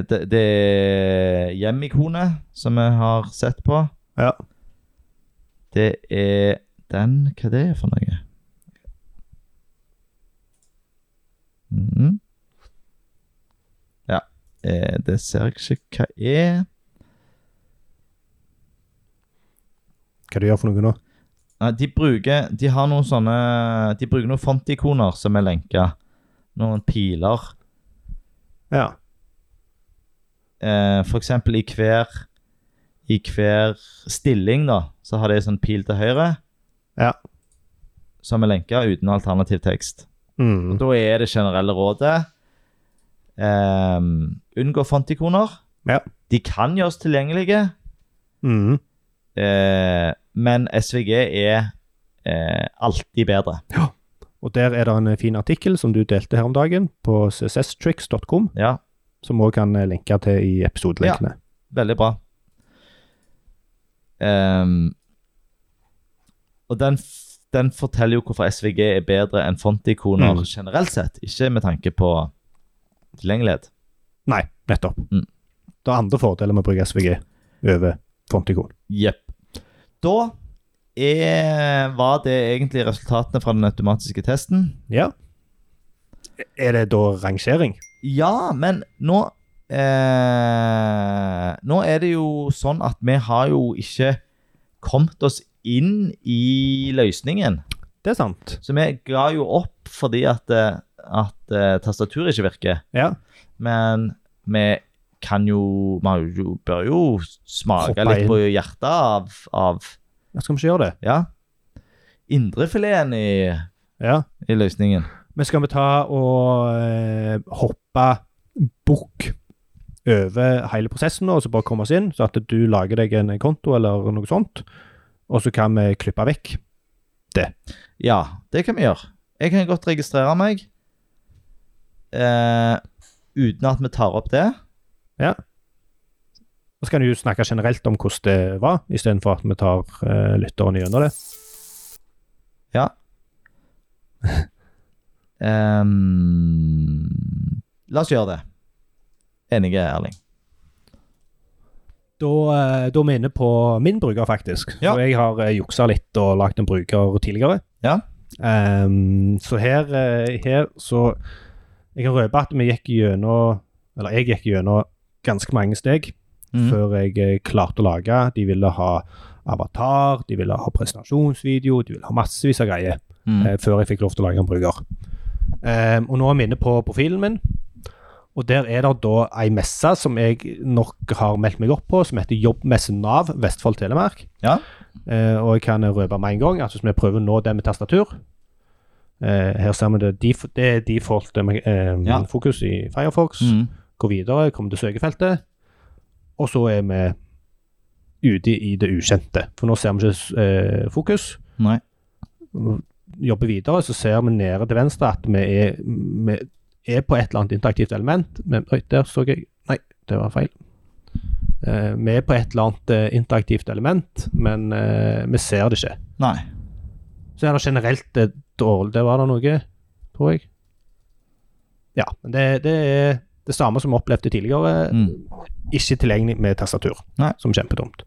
Speaker 2: det, det er hjemikonet som vi har sett på.
Speaker 1: Ja.
Speaker 2: Det er den Hva det er for noe? Mhm. Ja, eh, det ser jeg ikke hva er.
Speaker 1: Hva du gjør for noe nå?
Speaker 2: Nei, de bruker De har noen sånne De bruker noen fontikoner som er lenka. Noen piler.
Speaker 1: Ja.
Speaker 2: eh, for eksempel i hver, i hver stilling da, så har det en sånn pil til høyre,
Speaker 1: Ja.
Speaker 2: som er lenka uten alternativ tekst.
Speaker 1: Mm.
Speaker 2: Da er det generelle rådet eh, unngå fontikoner.
Speaker 1: Ja.
Speaker 2: De kan gjøres tilgjengelige,
Speaker 1: Mm.
Speaker 2: eh, men SVG er eh, alltid bedre.
Speaker 1: Og der er det en eh, fin artikkel som du delte her om dagen, på csstricks.com,
Speaker 2: Ja,
Speaker 1: som òg kan eh, lenke til i episodelinkene.
Speaker 2: Veldig bra. Ehm, og den, f- den forteller jo hvorfor SVG er bedre enn fontikoner
Speaker 1: Mm.
Speaker 2: generelt sett. Ikke med tanke på tilgjengelighet.
Speaker 1: Nei, nettopp.
Speaker 2: Mm.
Speaker 1: Det er andre fordeler med å bruke SVG over frontikon.
Speaker 2: Jepp. Da Er, var det egentlig resultatene fra den automatiske testen?
Speaker 1: Ja. E-, Er det da rangering?
Speaker 2: Ja, men nå eh, Nå er det jo sånn at vi har jo ikke kommet oss inn i løsningen.
Speaker 1: Det er sant.
Speaker 2: Så vi ga jo opp fordi at, eh, at eh, tastaturet ikke virker.
Speaker 1: Ja.
Speaker 2: Men vi kan jo Vi har jo- bør jo smake
Speaker 1: Hoppe
Speaker 2: litt
Speaker 1: inn.
Speaker 2: på hjertet av, av
Speaker 1: ja skal vi ikke gjøre det?
Speaker 2: Ja. Indrefileten i,
Speaker 1: Ja.
Speaker 2: i løsningen.
Speaker 1: Men skal vi ta og eh, hoppe bukk over hele prosessen nå, og så bare komme oss inn, så at du lager deg en konto eller noe sånt, og så kan vi klippe vekk.
Speaker 2: Ja, det kan vi gjøre. Jeg kan godt registrere meg eh, uten at vi tar opp det.
Speaker 1: Og så kan du jo snakke generelt om hvordan det var, istedenfor at vi tar eh, lytteren gjennom det.
Speaker 2: Ja. Ehm, la oss gjøre det. Enige, Erling.
Speaker 1: Da, eh, da er vi inne på min bruker, faktisk.
Speaker 2: Ja.
Speaker 1: Så jeg har eh, juksa litt og lagd en bruker tidligere.
Speaker 2: Ja.
Speaker 1: Ehm, så her, eh, her så Jeg kan røpe at vi gikk gjennom Eller jeg gikk gjennom ganske mange steg
Speaker 2: Mhm.
Speaker 1: før jeg eh, klarte å lage. De ville ha avatar, de ville ha presentasjonsvideo, de ville ha massevis av greier
Speaker 2: Mm.
Speaker 1: eh, før jeg fikk lov til å lage en bruker. Ehm, og nå er vi inne på profilen min, og der er det da ei messe som jeg nok har meldt meg opp på, som heter Jobbmesse Nav Vestfold Telemark.
Speaker 2: Ja.
Speaker 1: Eh, og jeg kan røpe med en gang at hvis vi prøver å nå det med tastatur eh, Her ser vi det, def det er default eh,
Speaker 2: Ja.
Speaker 1: fokus i Firefox.
Speaker 2: Mm.
Speaker 1: Gå videre, kom til søkefeltet. Og så er vi ute i det ukjente, for nå ser vi ikke eh, fokus
Speaker 2: Nei.
Speaker 1: jobber videre, så ser vi nede til venstre at vi er, vi er på et eller annet interaktivt element. Men, oi, der så jeg Nei, det var feil. Eh, vi er på et eller annet eh, interaktivt element, men eh, vi ser det ikke.
Speaker 2: Nei.
Speaker 1: Så er det generelt eh, dårlig Der var det noe, tror jeg. Ja. Men det, det er det samme som vi opplevde tidligere.
Speaker 2: Mm.
Speaker 1: Ikke tilgjengelig med tastatur,
Speaker 2: Nei.
Speaker 1: som er kjempedumt.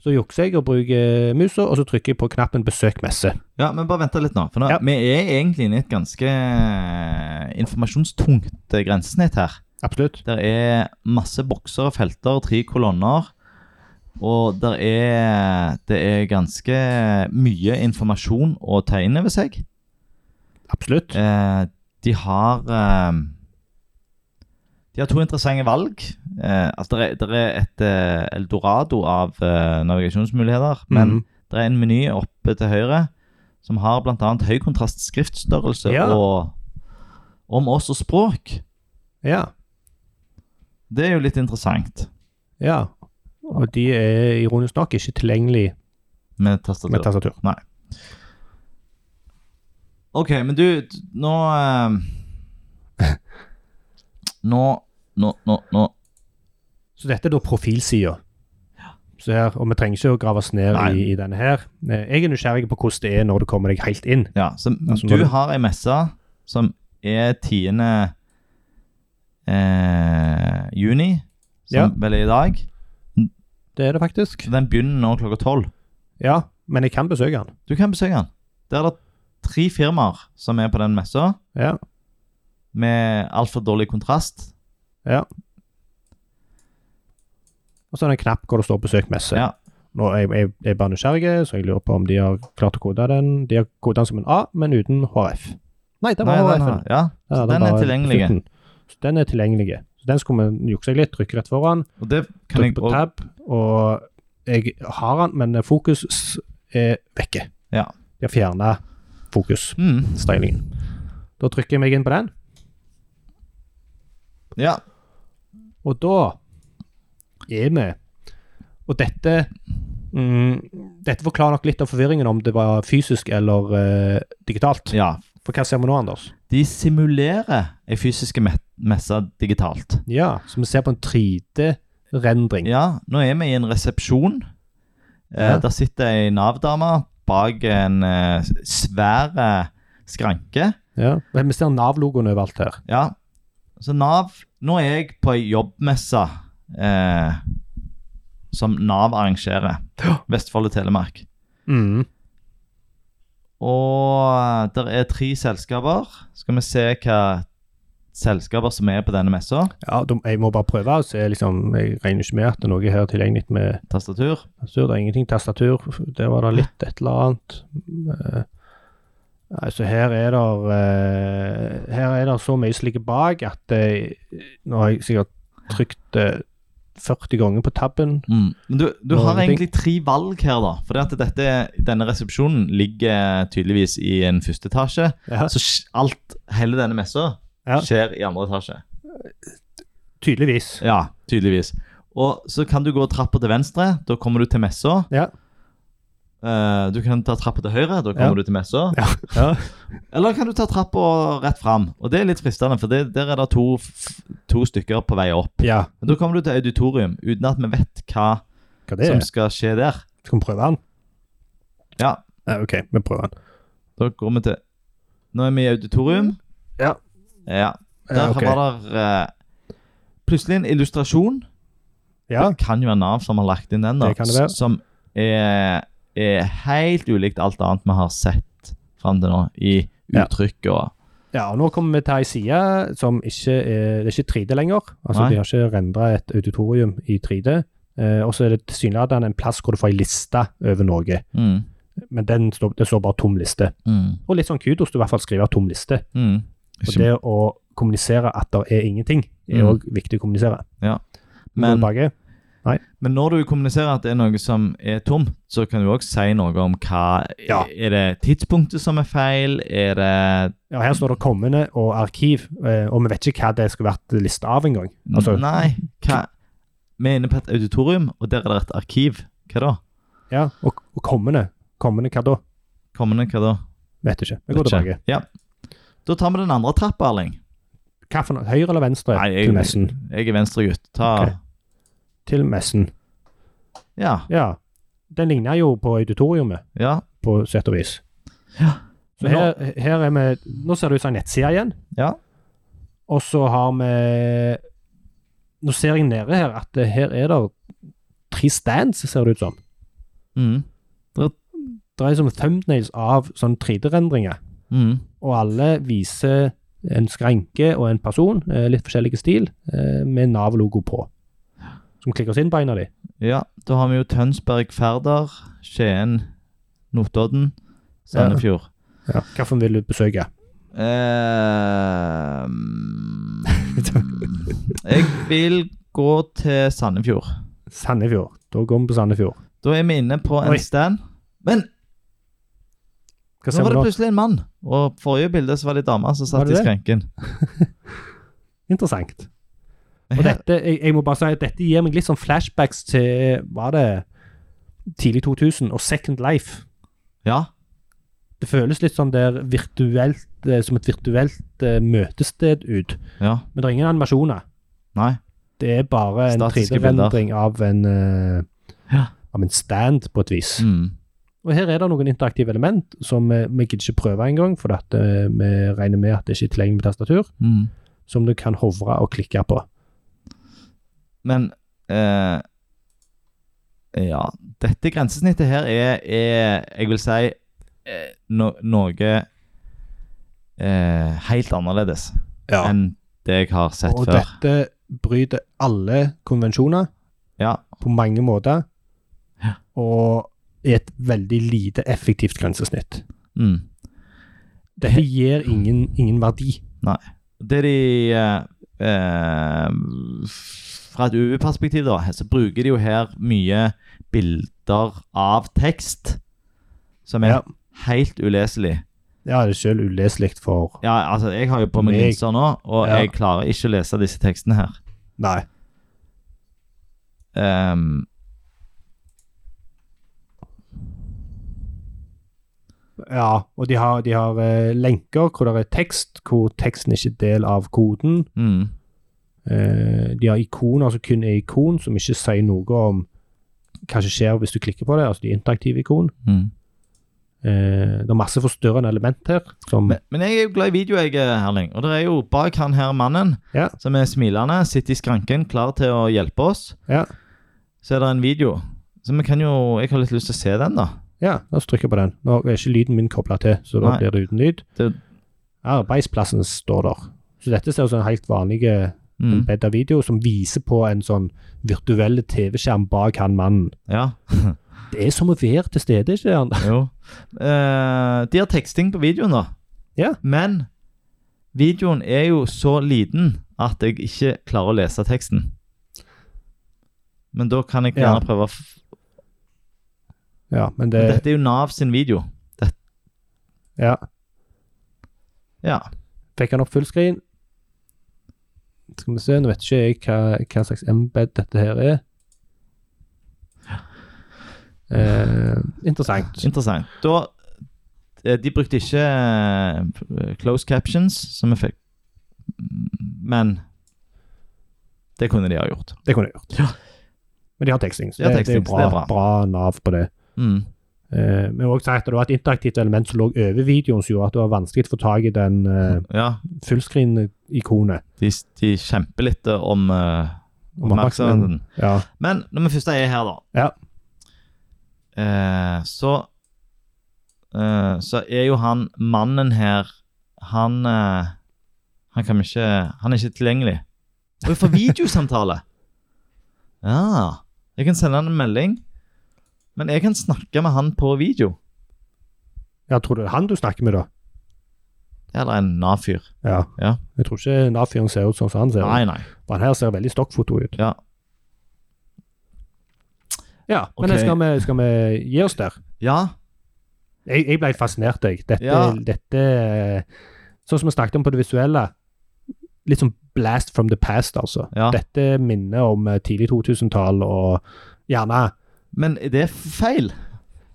Speaker 1: Så jukser jeg og bruker musa, og så trykker jeg på knappen 'besøk messe'.
Speaker 2: Ja, men bare vent litt nå. For nå
Speaker 1: Ja.
Speaker 2: Vi er egentlig inne i et ganske eh, informasjonstungt eh, grensesnitt her.
Speaker 1: Absolutt.
Speaker 2: Det er masse bokser og felter, tre kolonner. Og der er, det er ganske mye informasjon å ta inn over seg.
Speaker 1: Absolutt.
Speaker 2: Eh, de har eh, De har to interessante valg. Eh, altså, det er, der er et eh, eldorado av eh, navigasjonsmuligheter. Men
Speaker 1: Mhm.
Speaker 2: det er en meny oppe til høyre som har bl.a. høy kontrast skriftstørrelse
Speaker 1: Ja.
Speaker 2: og om oss og språk.
Speaker 1: Ja.
Speaker 2: Det er jo litt interessant
Speaker 1: Ja, og de er ironisk nok ikke tilgjengelig med
Speaker 2: med tastatur.
Speaker 1: tastatur.
Speaker 2: Ok, men du, d- nå eh, Nå, nå, nå, nå.
Speaker 1: Så dette er da profilsida. Så her, Og vi trenger ikke å grave oss ned
Speaker 2: Nei.
Speaker 1: i, i denne her. Eh, Jeg er nysgjerrig på hvordan det er når du kommer deg helt inn.
Speaker 2: Ja, så
Speaker 1: Altså,
Speaker 2: du
Speaker 1: når du-
Speaker 2: har ei messe som er 10. Eh, juni, som
Speaker 1: Ja.
Speaker 2: vel er i dag.
Speaker 1: Det er det faktisk.
Speaker 2: Så Den begynner nå klokka tolv.
Speaker 1: Ja, men jeg kan besøke den.
Speaker 2: Du kan besøke den. Der er det tre firmaer som er på den messa,
Speaker 1: Ja.
Speaker 2: med altfor dårlig kontrast.
Speaker 1: Og så er det en knapp hvor det står 'besøk messe'.
Speaker 2: Ja.
Speaker 1: Nå er jeg, jeg, jeg er bare nysgjerrig, så jeg lurer på om de har klart å kode den. De har kodet den som en A, men uten HRF. Nei, det var
Speaker 2: Nei, den,
Speaker 1: HRF-en.
Speaker 2: har- ja.
Speaker 1: Ja,
Speaker 2: så
Speaker 1: det
Speaker 2: den
Speaker 1: var
Speaker 2: er
Speaker 1: bare
Speaker 2: tilgjengelig.
Speaker 1: slutten. Så den er tilgjengelig. Så den skulle vi jukse litt, trykke rett foran.
Speaker 2: Og det kan
Speaker 1: Trykk
Speaker 2: jeg
Speaker 1: på
Speaker 2: også
Speaker 1: tab, og jeg har den, men fokus er vekke.
Speaker 2: Ja.
Speaker 1: Jeg har fjerna fokusstylingen.
Speaker 2: mm,
Speaker 1: Da trykker jeg meg inn på den,
Speaker 2: Ja.
Speaker 1: og da er vi Og dette mm, Dette forklarer nok litt av forvirringen om det var fysisk eller eh, digitalt.
Speaker 2: ja.
Speaker 1: For hva ser vi nå, Anders?
Speaker 2: De simulerer ei fysisk me- messe digitalt.
Speaker 1: Ja, så vi ser på en 3D-rendring.
Speaker 2: Ja, nå er vi i en resepsjon. Eh,
Speaker 1: Ja.
Speaker 2: Der sitter ei Nav-dame bak en eh, svær eh, skranke.
Speaker 1: Ja. Men Vi ser Nav-logoen overalt her.
Speaker 2: Ja. Så Nav Nå er jeg på ei jobbmesse eh, som Nav arrangerer. Vestfold og Telemark. Og det er tre selskaper. Skal vi se hva selskaper som er på denne messa.
Speaker 1: Ja, de, jeg må bare prøve å se, liksom. Jeg regner ikke med at det er noe her tilgjengelig med
Speaker 2: Tastatur.
Speaker 1: tastatur. Det er ingenting tastatur. Der var det litt et eller annet. Eh, Nei, så her er det eh, Her er det så mye som ligger bak at eh, Nå har jeg sikkert trykt eh, 40 ganger på tabben.
Speaker 2: Mm. Men du, du
Speaker 1: Nå
Speaker 2: har
Speaker 1: er det ting.
Speaker 2: egentlig tre valg her, da. For at dette, denne resepsjonen ligger tydeligvis i en første etasje.
Speaker 1: Ja.
Speaker 2: Så sk- alt, hele denne messa,
Speaker 1: Ja.
Speaker 2: skjer i andre etasje.
Speaker 1: Tydeligvis.
Speaker 2: Ja, tydeligvis. Og så kan du gå trappa til venstre. Da kommer du til messa.
Speaker 1: Ja.
Speaker 2: Eh, du kan ta trappa til høyre. Da kommer
Speaker 1: Ja.
Speaker 2: du til messa.
Speaker 1: Ja. ja.
Speaker 2: Eller kan du ta trappa rett fram? Og det er litt fristende, for det, der er det to, f- to stykker på vei opp.
Speaker 1: ja.
Speaker 2: Men da kommer du til auditorium uten at vi vet hva
Speaker 1: Hva det
Speaker 2: som
Speaker 1: er?
Speaker 2: skal skje der.
Speaker 1: Skal vi prøve den?
Speaker 2: Ja.
Speaker 1: Eh, OK, vi prøver den.
Speaker 2: Da går vi til Nå er vi i auditorium.
Speaker 1: Ja.
Speaker 2: Ja. Der
Speaker 1: Ja, ok.
Speaker 2: var det eh, plutselig en illustrasjon.
Speaker 1: Ja.
Speaker 2: Det kan jo være Nav som har lagt inn den, da.
Speaker 1: Det kan det være.
Speaker 2: s- Som er, er helt ulikt alt annet vi har sett fram til nå, i
Speaker 1: Ja.
Speaker 2: uttrykk og
Speaker 1: Ja, og nå kommer vi til ei side som ikke er Det er ikke 3D lenger. Altså,
Speaker 2: Nei.
Speaker 1: De har ikke rendra et auditorium i 3D. Eh, og så er det tilsynelatende en plass hvor du får ei liste over noe.
Speaker 2: mm,
Speaker 1: Men den står, det står bare tom liste.
Speaker 2: mm,
Speaker 1: Og litt sånn kudos du i hvert fall skriver tom liste.
Speaker 2: mm.
Speaker 1: Og det å kommunisere at det er ingenting, er
Speaker 2: Mm.
Speaker 1: òg viktig å kommunisere. Går
Speaker 2: Men,
Speaker 1: det tilbake?
Speaker 2: men når du kommuniserer at det er noe som er tomt, så kan du òg si noe om hva
Speaker 1: Ja.
Speaker 2: Er det tidspunktet som er feil? Er det
Speaker 1: ja, her står det 'kommende' og 'arkiv', eh, og vi vet ikke hva det skulle vært lista av engang. Altså,
Speaker 2: Nei, hva Vi er inne på et auditorium, og der er det et arkiv. Hva da?
Speaker 1: ja, og, og 'kommende'. Kommende hva da?
Speaker 2: Kommende, hva da?
Speaker 1: Vet ikke. Vi går
Speaker 2: Vet
Speaker 1: tilbake.
Speaker 2: ikke. Ja. Da tar vi den andre trappa, Erling.
Speaker 1: Hva for noe? Høyre eller venstre
Speaker 2: Nei,
Speaker 1: til
Speaker 2: jeg,
Speaker 1: messen?
Speaker 2: jeg er venstregutt. Ta
Speaker 1: Ok. Til messen.
Speaker 2: Ja.
Speaker 1: Ja. Den ligner jo på auditoriumet,
Speaker 2: Ja.
Speaker 1: på sett og vis.
Speaker 2: Ja.
Speaker 1: Så her, her er vi Nå ser det ut som en nettside igjen.
Speaker 2: Ja.
Speaker 1: Og så har vi Nå ser jeg nede her at det- her er det tre stands, ser det ut som.
Speaker 2: Mm.
Speaker 1: Det er som thumbnails av sånn 3D-rendringer.
Speaker 2: Mm.
Speaker 1: Og alle viser en skranke og en person, eh, litt forskjellige stil, eh, med Nav-logo på. Som klikker oss inn på en av de.
Speaker 2: ja. Da har vi jo Tønsberg, Færder, Skien, Notodden, Sandefjord.
Speaker 1: Ja. Hvilken vil du besøke?
Speaker 2: Eh, jeg vil gå til Sandefjord.
Speaker 1: Sandefjord. Da går vi på Sandefjord.
Speaker 2: Da er vi inne på en
Speaker 1: Oi.
Speaker 2: stand. Men
Speaker 1: Hva
Speaker 2: Nå
Speaker 1: ser
Speaker 2: var
Speaker 1: vi
Speaker 2: det
Speaker 1: nå?
Speaker 2: plutselig en mann, og forrige bilde så var det en dame
Speaker 1: Var
Speaker 2: som satt
Speaker 1: det
Speaker 2: i
Speaker 1: det?
Speaker 2: skranken.
Speaker 1: Interessant. Og dette, jeg, jeg må bare si at dette gir meg litt sånn flashbacks til Var det tidlig 2000 og Second Life?
Speaker 2: Ja,
Speaker 1: Det føles litt sånn der virtuelt, eh, som et virtuelt eh, møtested ut.
Speaker 2: ja,
Speaker 1: Men det er ingen animasjoner.
Speaker 2: nei.
Speaker 1: Det er bare en
Speaker 2: Statiske
Speaker 1: 3D-rendring av en eh,
Speaker 2: Ja.
Speaker 1: Av en stand, på et vis.
Speaker 2: Mm.
Speaker 1: Og her er det noen interaktive element som eh, vi gidder ikke prøve engang, for at, eh, vi regner med at det ikke er tilgjengelig med tastatur,
Speaker 2: Mm.
Speaker 1: som du kan hovre og klikke på.
Speaker 2: Men eh, Ja, dette grensesnittet her er, er jeg vil si, eh, no, noe eh, helt annerledes enn det jeg har sett
Speaker 1: Og
Speaker 2: før.
Speaker 1: dette bryter alle konvensjoner.
Speaker 2: Ja,
Speaker 1: på mange måter.
Speaker 2: Ja.
Speaker 1: Og i et veldig lite effektivt grensesnitt.
Speaker 2: mm.
Speaker 1: Dette gir ingen, ingen verdi.
Speaker 2: Det de eh, eh, Fra et UV-perspektiv, da, så bruker de jo her mye bilder av tekst som er
Speaker 1: Ja.
Speaker 2: helt uleselig.
Speaker 1: Ja, det er selv uleselig for
Speaker 2: Ja, altså, jeg har jo på meg
Speaker 1: Meg.
Speaker 2: linser nå, og
Speaker 1: Ja.
Speaker 2: jeg klarer ikke å lese disse tekstene her.
Speaker 1: Nei.
Speaker 2: Ehm,
Speaker 1: Ja, og de har, de har eh, lenker hvor det er tekst, hvor teksten ikke er del av koden.
Speaker 2: mm,
Speaker 1: Eh, de har ikoner som kun er ikon, som ikke sier noe om hva som skjer hvis du klikker på det. Altså de interaktive ikon.
Speaker 2: mm.
Speaker 1: Eh, det er masse forstørrende element her. Som,
Speaker 2: Men, men jeg er jo glad i video, jeg, Erling. Og det er jo bak han her mannen,
Speaker 1: Ja.
Speaker 2: som er smilende, sitter i skranken, klar til å hjelpe oss.
Speaker 1: Ja.
Speaker 2: Så er det en video. Så vi kan jo Jeg har litt lyst til å se den, da.
Speaker 1: Ja, la oss trykke på den. Nå er ikke lyden min kobla til, så da
Speaker 2: Nei.
Speaker 1: blir det uten lyd.
Speaker 2: Det-
Speaker 1: Arbeidsplassen står der. Så dette ser ut som en helt vanlig eh,
Speaker 2: Mm.
Speaker 1: embedda video som viser på en sånn virtuell TV-skjerm bak han mannen.
Speaker 2: Ja,
Speaker 1: Det er som å være til stede, ikke sant?
Speaker 2: jo. Eh, de har teksting på videoen, da.
Speaker 1: Ja.
Speaker 2: Men videoen er jo så liten at jeg ikke klarer å lese teksten. Men da kan jeg
Speaker 1: Ja.
Speaker 2: gjerne prøve å f-
Speaker 1: Ja, men det
Speaker 2: Men Dette er jo Nav sin video.
Speaker 1: Ja.
Speaker 2: Ja.
Speaker 1: Fikk han opp fullskrin? Skal vi se, nå vet ikke jeg hva, hva slags embed dette her er. Eh, interessant.
Speaker 2: Interessant. Da, eh, de brukte ikke eh, closed captions, som vi fikk. Mm, Men det kunne de ha gjort.
Speaker 1: Det kunne jeg gjort. Men de har teksting, så
Speaker 2: De har
Speaker 1: det,
Speaker 2: teksting,
Speaker 1: det
Speaker 2: så
Speaker 1: er bra, bra. Nav på det.
Speaker 2: Mm.
Speaker 1: Eh, men også sagt at det var et interaktivt element som lå over videoen, som gjorde at det var vanskelig å få tak i den eh,
Speaker 2: Ja,
Speaker 1: fullskrin-ikonet.
Speaker 2: de, de kjemper litt eh, om eh,
Speaker 1: Om oppmerksomheten.
Speaker 2: oppmerksomheten.
Speaker 1: Ja.
Speaker 2: Men når vi først er her, da,
Speaker 1: Ja.
Speaker 2: eh, så eh, Så er jo han mannen her Han eh, Han kan vi ikke Han er ikke tilgjengelig. Og for videosamtale! Ja. Jeg kan sende han en melding, men jeg kan snakke med han på video.
Speaker 1: ja, tror du det er han du snakker med, da?
Speaker 2: Eller en Nav-fyr.
Speaker 1: Ja.
Speaker 2: Ja.
Speaker 1: Jeg tror ikke Nav-fyren ser ut sånn som han ser
Speaker 2: Nei,
Speaker 1: ut.
Speaker 2: nei.
Speaker 1: For han her ser veldig stokkfoto ut.
Speaker 2: Ja.
Speaker 1: Ja, men
Speaker 2: Ok.
Speaker 1: skal, vi, skal vi gi oss der?
Speaker 2: ja.
Speaker 1: Jeg, jeg ble fascinert, jeg. Dette,
Speaker 2: Ja.
Speaker 1: dette Sånn som vi snakket om på det visuelle. Litt sånn blast from the past, altså.
Speaker 2: Ja.
Speaker 1: Dette minner om eh, tidlig 2000-tall og gjerne
Speaker 2: Men er det feil?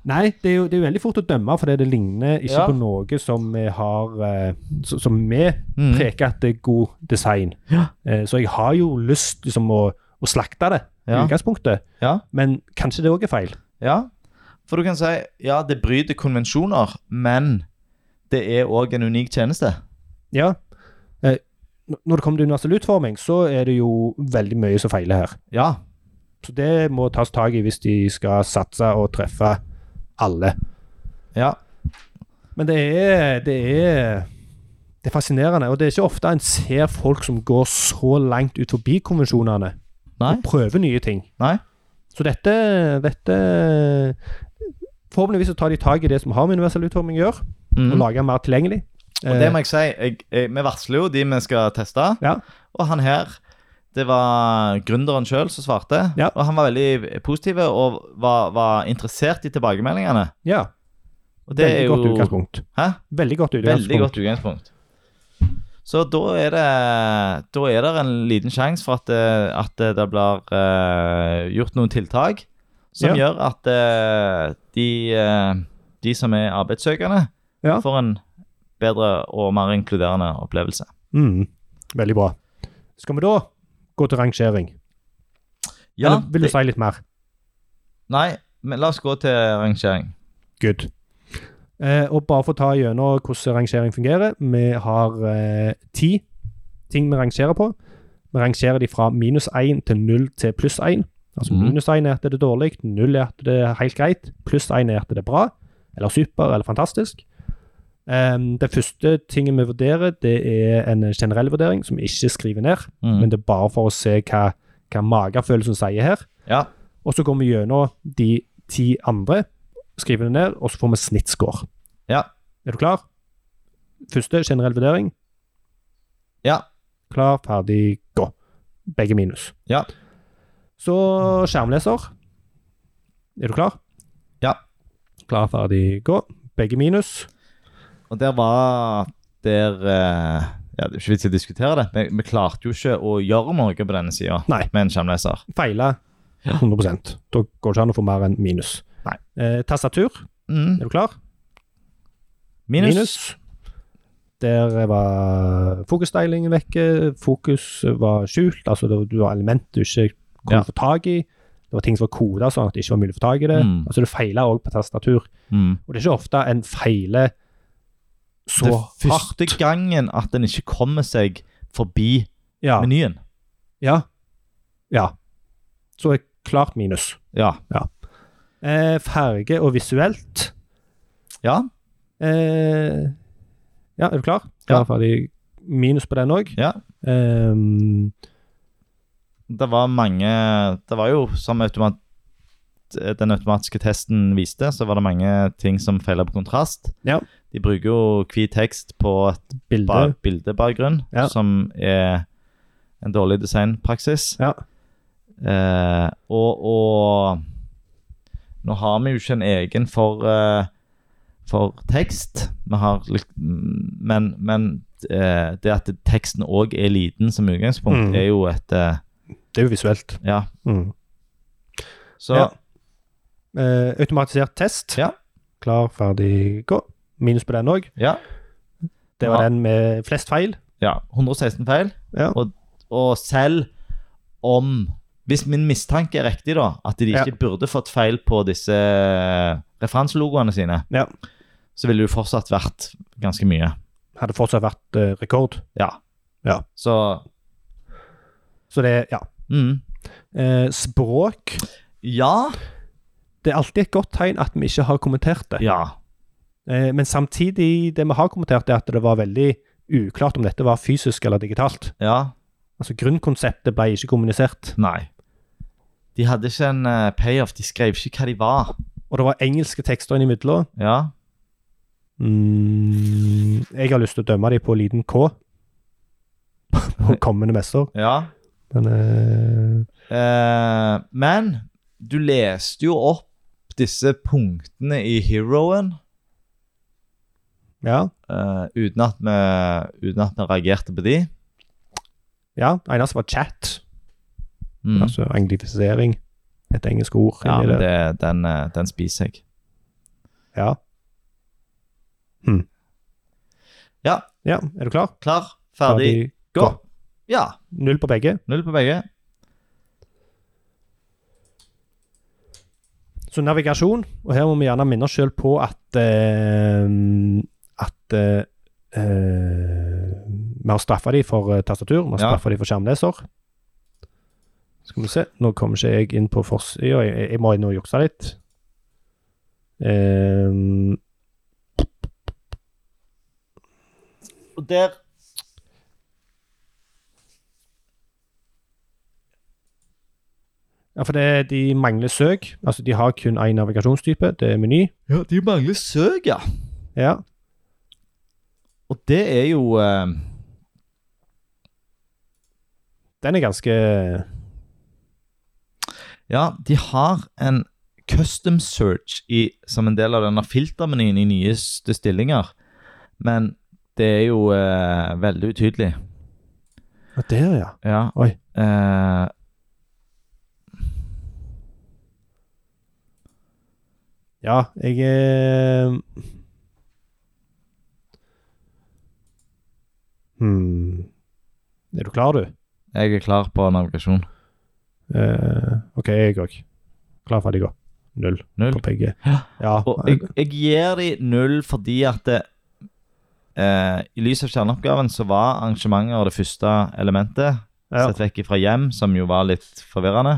Speaker 1: Nei, det er, jo, det er jo veldig fort å dømme, fordi det ligner ikke
Speaker 2: Ja.
Speaker 1: på noe som vi har eh, s- Som vi
Speaker 2: Mm.
Speaker 1: preker at det er god design.
Speaker 2: Ja.
Speaker 1: Eh, så jeg har jo lyst liksom å, å slakte det i
Speaker 2: Ja.
Speaker 1: utgangspunktet,
Speaker 2: Ja.
Speaker 1: men kanskje det òg er feil.
Speaker 2: Ja, for du kan si ja, det bryter konvensjoner, men det er òg en unik tjeneste.
Speaker 1: Ja. Eh, n- når det kommer til universell utforming, så er det jo veldig mye som feiler her.
Speaker 2: Ja.
Speaker 1: Så det må tas tak i hvis de skal satse og treffe alle.
Speaker 2: ja.
Speaker 1: Men det er Det er det er fascinerende, og det er ikke ofte en ser folk som går så langt ut forbi konvensjonene
Speaker 2: Nei.
Speaker 1: og prøver nye ting.
Speaker 2: Nei.
Speaker 1: Så dette, dette Forhåpentligvis så tar de tak i det som har med universell utforming å gjøre, og
Speaker 2: Mhm.
Speaker 1: lager den mer tilgjengelig. Eh,
Speaker 2: Og det må jeg si, jeg, jeg, vi varsler jo de vi skal teste,
Speaker 1: Ja.
Speaker 2: og han her det var gründeren sjøl som svarte.
Speaker 1: Ja.
Speaker 2: Og han var veldig positiv og var, var interessert i tilbakemeldingene.
Speaker 1: Eh, ja.
Speaker 2: Og det
Speaker 1: veldig
Speaker 2: er jo
Speaker 1: godt utgangspunkt.
Speaker 2: Hæ?
Speaker 1: Veldig godt utgangspunkt.
Speaker 2: Veldig godt utgangspunkt. Så da er det Da er det en liten sjanse for at, det- at det blir eh, gjort noen tiltak som
Speaker 1: Ja.
Speaker 2: gjør at eh, de, eh, de som er arbeidssøkende,
Speaker 1: Ja.
Speaker 2: får en bedre og mer inkluderende opplevelse.
Speaker 1: Mm. Veldig bra. Skal vi da gå til rangering?
Speaker 2: Ja,
Speaker 1: Eller vil du
Speaker 2: det,
Speaker 1: si litt mer?
Speaker 2: Nei, men la oss gå til rangering.
Speaker 1: Good. Eh, og bare for å ta gjennom hvordan rangering fungerer. Vi har eh, ti ting vi rangerer på. Vi rangerer de fra minus 1 til 0 til pluss 1. Altså
Speaker 2: Mhm.
Speaker 1: minus 1 er at det er dårlig, 0 er at det er helt greit, pluss 1 er at det er bra, eller super, eller fantastisk. Ehm, det første tingen vi vurderer, det er en generell vurdering som vi ikke skriver ned,
Speaker 2: Mhm.
Speaker 1: men det er bare for å se hva, hva magefølelsen sier her.
Speaker 2: Ja.
Speaker 1: Og så går vi gjennom de ti andre, skriver det ned, og så får vi snittscore.
Speaker 2: Ja.
Speaker 1: Er du klar? Første generell vurdering.
Speaker 2: Ja.
Speaker 1: Klar, ferdig, gå. Begge minus.
Speaker 2: Ja.
Speaker 1: Så skjermleser. Er du klar?
Speaker 2: Ja.
Speaker 1: Klar, ferdig, gå. Begge minus.
Speaker 2: Og der var Der eh, Ja, det er ikke vits i å diskutere det. Vi, vi klarte jo ikke å gjøre noe på denne sida
Speaker 1: Nei.
Speaker 2: med en skjermleser.
Speaker 1: Feile 100 Da går det ikke an å få mer enn minus.
Speaker 2: Nei.
Speaker 1: Eh, tastatur.
Speaker 2: Mm.
Speaker 1: Er du klar?
Speaker 2: Minus.
Speaker 1: Der var fokusstylingen vekke. Fokus var skjult. Altså det var, det var element du ikke kunne
Speaker 2: Ja.
Speaker 1: få tak i. Det var ting som var koda sånn at det ikke var mulig å få tak i det.
Speaker 2: Mm.
Speaker 1: Altså det feila òg på tastatur.
Speaker 2: Mm.
Speaker 1: Og det er ikke ofte en feiler så
Speaker 2: Det er
Speaker 1: hardt.
Speaker 2: første gangen at en ikke kommer seg forbi
Speaker 1: Ja.
Speaker 2: menyen.
Speaker 1: ja. Ja. Så et klart minus.
Speaker 2: Ja.
Speaker 1: Eh, farge og visuelt.
Speaker 2: Ja,
Speaker 1: Eh, ja, er du klar?
Speaker 2: Ja.
Speaker 1: Da får de minus på den Ehm, òg.
Speaker 2: ja. Det var mange Det var jo som automat, den automatiske testen viste, så var det mange ting som feila på kontrast.
Speaker 1: Ja.
Speaker 2: De bruker jo hvit tekst på et
Speaker 1: bilde.
Speaker 2: ba bildebakgrunn,
Speaker 1: Ja.
Speaker 2: som er en dårlig designpraksis.
Speaker 1: Ja.
Speaker 2: Eh, og, og nå har vi jo ikke en egen for, eh, for tekst. Vi har, lik- men men eh, det at teksten òg er liten som utgangspunkt,
Speaker 1: Mm.
Speaker 2: er jo et eh,
Speaker 1: Det er jo visuelt.
Speaker 2: Ja.
Speaker 1: Mm.
Speaker 2: Så
Speaker 1: Ja. Eh, automatisert test.
Speaker 2: Ja.
Speaker 1: Klar, ferdig, gå. Minus på den òg.
Speaker 2: Ja.
Speaker 1: Det var
Speaker 2: Ja.
Speaker 1: den med flest feil.
Speaker 2: ja 116 feil.
Speaker 1: Ja.
Speaker 2: Og, og selv om Hvis min mistanke er riktig, da, at de
Speaker 1: Ja.
Speaker 2: ikke burde fått feil på disse eh, referanselogoene sine,
Speaker 1: Ja.
Speaker 2: så ville det jo fortsatt vært ganske mye.
Speaker 1: Hadde fortsatt vært eh, rekord.
Speaker 2: Ja.
Speaker 1: Ja.
Speaker 2: Så
Speaker 1: Så det, ja.
Speaker 2: mm.
Speaker 1: Eh, språk.
Speaker 2: Ja.
Speaker 1: Det er alltid et godt tegn at vi ikke har kommentert det.
Speaker 2: Ja.
Speaker 1: Eh, men samtidig, det vi har kommentert, er at det var veldig uklart om dette var fysisk eller digitalt.
Speaker 2: Ja.
Speaker 1: Altså Grunnkonseptet ble ikke kommunisert.
Speaker 2: Nei. De hadde ikke en eh, payoff. De skrev ikke hva de var.
Speaker 1: Og det var engelske tekster innimellom.
Speaker 2: Ja.
Speaker 1: Mm, jeg har lyst til å dømme dem på liten K på kommende messer.
Speaker 2: Ja.
Speaker 1: Men eh,
Speaker 2: Eh, men du leste jo opp disse punktene i Heroen
Speaker 1: ja.
Speaker 2: eh, uten, at vi, uten at vi reagerte på de.
Speaker 1: Ja, det eneste var chat.
Speaker 2: Mm.
Speaker 1: Altså anglifisering. Et engelsk ord
Speaker 2: ja,
Speaker 1: inni
Speaker 2: men
Speaker 1: det.
Speaker 2: det, den, eh, den spiser jeg.
Speaker 1: Ja. Hm.
Speaker 2: Ja,
Speaker 1: ja, er du klar?
Speaker 2: klar, ferdig, gå.
Speaker 1: gå.
Speaker 2: Ja.
Speaker 1: Null på begge.
Speaker 2: Null på begge.
Speaker 1: Så navigasjon, og her må vi gjerne minne oss sjøl på at eh, at eh, eh, vi har straffa de for eh, tastatur, vi har
Speaker 2: Ja.
Speaker 1: straffa de for skjermleser. Skal vi se Nå kommer ikke jeg inn på forsida, jeg, jeg må nå jukse litt. Eh,
Speaker 2: Og der
Speaker 1: ja, for det, de mangler søk. Altså, de har kun én navigasjonstype, det er meny.
Speaker 2: Ja, de mangler søk, ja.
Speaker 1: Ja.
Speaker 2: Og det er jo eh,
Speaker 1: Den er ganske
Speaker 2: Ja, de har en custom search i, som en del av denne filtermenyen i nyeste stillinger. Men det er jo eh, veldig utydelig.
Speaker 1: Ja, der, ja.
Speaker 2: Ja.
Speaker 1: Oi.
Speaker 2: Eh,
Speaker 1: Ja, jeg eh, hmm. Er du klar, du?
Speaker 2: jeg er klar på navigasjon.
Speaker 1: Eh, OK, jeg òg. Klar, ferdig, gå. Null
Speaker 2: Null.
Speaker 1: på begge.
Speaker 2: Ja.
Speaker 1: Ja.
Speaker 2: Og jeg, jeg gir de null fordi at det, eh, I lys av kjerneoppgaven så var arrangementer det første elementet.
Speaker 1: ja.
Speaker 2: Sett vekk fra hjem, som jo var litt forvirrende.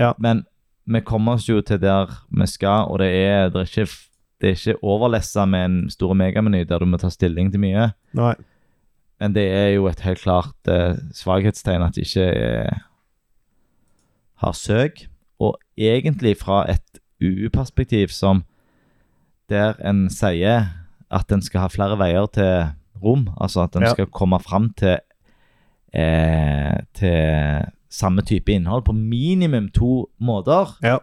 Speaker 1: Ja.
Speaker 2: Men vi kommer oss jo til der vi skal, og det er, det er ikke, f- det er ikke overlessa med en stor megameny der du må ta stilling til mye.
Speaker 1: Nei.
Speaker 2: Men det er jo et helt klart eh, svakhetstegn at de ikke eh, har søk. Og egentlig fra et UU-perspektiv som der en sier at en skal ha flere veier til rom, altså at en
Speaker 1: Ja.
Speaker 2: skal komme fram til, eh, til samme type innhold på minimum to måter.
Speaker 1: Ja,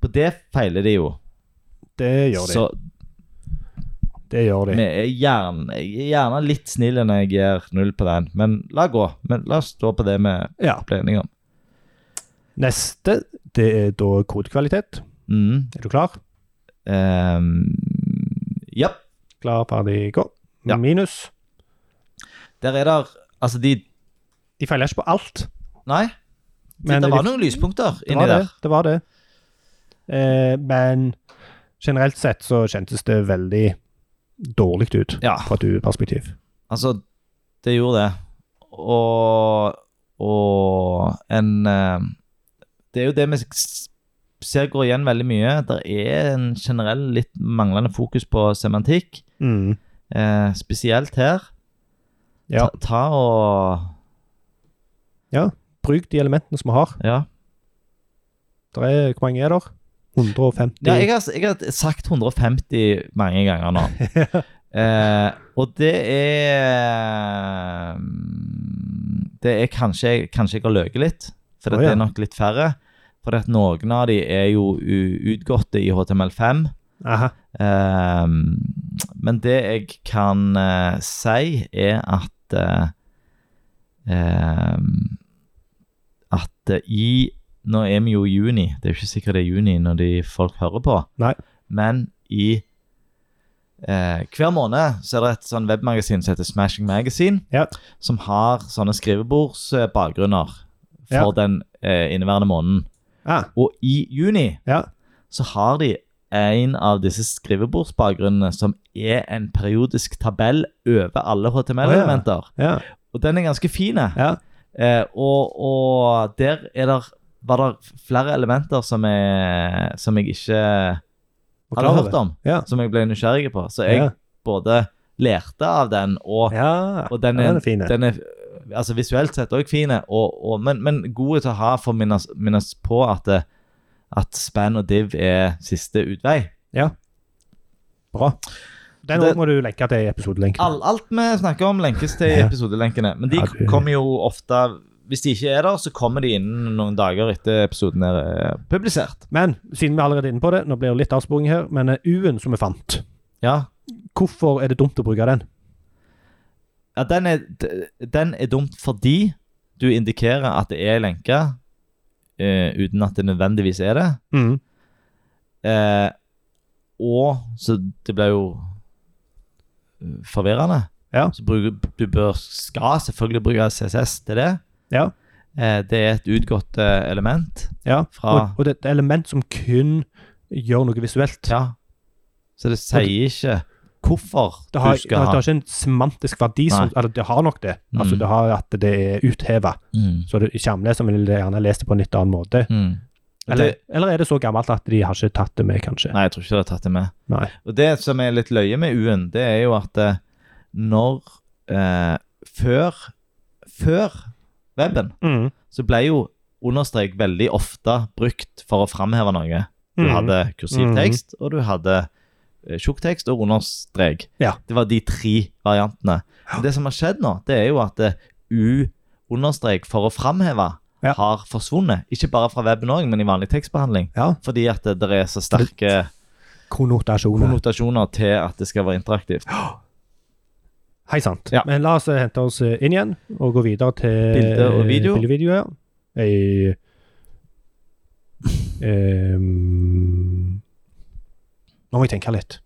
Speaker 2: På det feiler de jo.
Speaker 1: det gjør de.
Speaker 2: Så
Speaker 1: det gjør de.
Speaker 2: vi er gjerne, jeg er gjerne litt snill når jeg gir null på den, men la gå. Men la oss stå på det vi
Speaker 1: Ja.
Speaker 2: ble enige om.
Speaker 1: Neste, det er da kodekvalitet.
Speaker 2: Mm.
Speaker 1: Er du klar?
Speaker 2: ehm, ja,
Speaker 1: Klar, ferdig, gå.
Speaker 2: Ja.
Speaker 1: Minus.
Speaker 2: der er der Altså, de
Speaker 1: De feiler ikke på alt.
Speaker 2: Nei, de,
Speaker 1: men
Speaker 2: det
Speaker 1: de
Speaker 2: var noen lyspunkter
Speaker 1: Det
Speaker 2: inni
Speaker 1: var det.
Speaker 2: der.
Speaker 1: det, var det. Eh, men generelt sett så kjentes det veldig dårlig ut
Speaker 2: Ja.
Speaker 1: fra et UU-perspektiv.
Speaker 2: Altså, det gjorde det. Og Og en eh, Det er jo det vi s- ser går igjen veldig mye. Det er en generell litt manglende fokus på semantikk,
Speaker 1: Mm.
Speaker 2: eh, spesielt her.
Speaker 1: Ja.
Speaker 2: Ta, ta og
Speaker 1: Bruk de elementene som vi har.
Speaker 2: Ja.
Speaker 1: Der er, hvor mange er der? 150?
Speaker 2: ja jeg, har, jeg har sagt 150 mange ganger nå. eh, og det er mm, Det er kanskje, kanskje jeg har løyet litt, for
Speaker 1: Å,
Speaker 2: det
Speaker 1: ja.
Speaker 2: er nok litt færre. For at noen av de er jo u- utgåtte i HTML5.
Speaker 1: Aha.
Speaker 2: Ehm, men det jeg kan eh, si, er at eh, ehm, At eh, i Nå er vi jo i juni. Det er jo ikke sikkert det er juni når de folk hører på.
Speaker 1: Nei.
Speaker 2: Men i eh, hver måned så er det et sånn webmagasin som heter Smashing Magazine,
Speaker 1: Ja.
Speaker 2: som har sånne skrivebordsbakgrunner for
Speaker 1: Ja.
Speaker 2: den eh, inneværende måneden.
Speaker 1: Ah,
Speaker 2: Og i juni
Speaker 1: ja.
Speaker 2: så har de en av disse skrivebordsbakgrunnene som er en periodisk tabell over alle HTML-elementer.
Speaker 1: Ja.
Speaker 2: Og den er ganske fin.
Speaker 1: Ja.
Speaker 2: Eh, og, og der er der, var det flere elementer som, er, som jeg ikke
Speaker 1: Var
Speaker 2: hadde
Speaker 1: klar
Speaker 2: hørt om,
Speaker 1: Ja.
Speaker 2: som jeg ble nysgjerrig på. Så jeg
Speaker 1: Ja.
Speaker 2: både lærte av den, og,
Speaker 1: Ja.
Speaker 2: og den,
Speaker 1: Ja,
Speaker 2: er,
Speaker 1: den er fin, ja.
Speaker 2: den er altså visuelt sett òg fin, og, og, men, men god til å ha for å minnes, minnes på at, det- at span og div er siste utvei.
Speaker 1: Bra. Den
Speaker 2: Det-
Speaker 1: også må du lenke til i episodelenken.
Speaker 2: All, alt vi snakker om, lenkes til i
Speaker 1: Ja.
Speaker 2: episodelenkene. Men de
Speaker 1: Ja, du-
Speaker 2: kommer jo ofte Hvis de ikke er der, så kommer de innen noen dager etter episoden er eh, publisert.
Speaker 1: Men siden vi er allerede inne på det, nå blir det litt avsporing her, men eh, U-en som vi fant,
Speaker 2: Ja.
Speaker 1: hvorfor er det dumt å bruke den?
Speaker 2: ja den, er, d- den er dumt fordi du indikerer at det er lenke, eh, uten at det nødvendigvis er det.
Speaker 1: Mm.
Speaker 2: Eh, og Så det blir jo eh, forvirrende.
Speaker 1: Ja.
Speaker 2: Så bruker, du bør, skal selvfølgelig bruke CSS til det.
Speaker 1: Ja.
Speaker 2: Eh, det er et utgått eh, element.
Speaker 1: Ja.
Speaker 2: Fra-
Speaker 1: Og, og det er et element som kun gjør noe visuelt.
Speaker 2: Ja. Så det sier ikke hvorfor
Speaker 1: Det har,
Speaker 2: du
Speaker 1: det,
Speaker 2: skal
Speaker 1: har, det
Speaker 2: ha
Speaker 1: har ikke en semantisk verdi, som,
Speaker 2: Nei.
Speaker 1: eller det har nok det. Altså
Speaker 2: Mm.
Speaker 1: Det har at det er utheva.
Speaker 2: mm.
Speaker 1: Så det- skjermleseren vil gjerne lese det på en litt annen måte.
Speaker 2: Mm. Og
Speaker 1: Eller,
Speaker 2: det,
Speaker 1: eller er det så gammelt at de har ikke tatt det med, kanskje?
Speaker 2: Nei, jeg tror ikke de har tatt det med.
Speaker 1: Nei.
Speaker 2: Og det som er litt løye med U-en, det er jo at eh, når eh, Før Før weben
Speaker 1: Mm.
Speaker 2: så ble jo understrek veldig ofte brukt for å framheve noe. Du
Speaker 1: Mm.
Speaker 2: hadde kursiv
Speaker 1: Mhm.
Speaker 2: tekst, og du hadde eh, tjukk tekst og understrek.
Speaker 1: Ja.
Speaker 2: Det var de tre variantene. Men det som har skjedd nå, det er jo at eh, U understrek for å framheve
Speaker 1: Ja.
Speaker 2: har forsvunnet. Ikke bare fra weben òg, men i vanlig tekstbehandling.
Speaker 1: Ja.
Speaker 2: Fordi at eh, det der er så sterke
Speaker 1: Konnotasjoner.
Speaker 2: konnotasjoner til at det skal være interaktivt.
Speaker 1: Hei sant.
Speaker 2: Ja.
Speaker 1: Men la oss eh, hente oss eh, inn igjen og gå videre til
Speaker 2: Bilde og video.
Speaker 1: Bilde og video ja. Jeg, Ehm, nå må jeg tenke litt.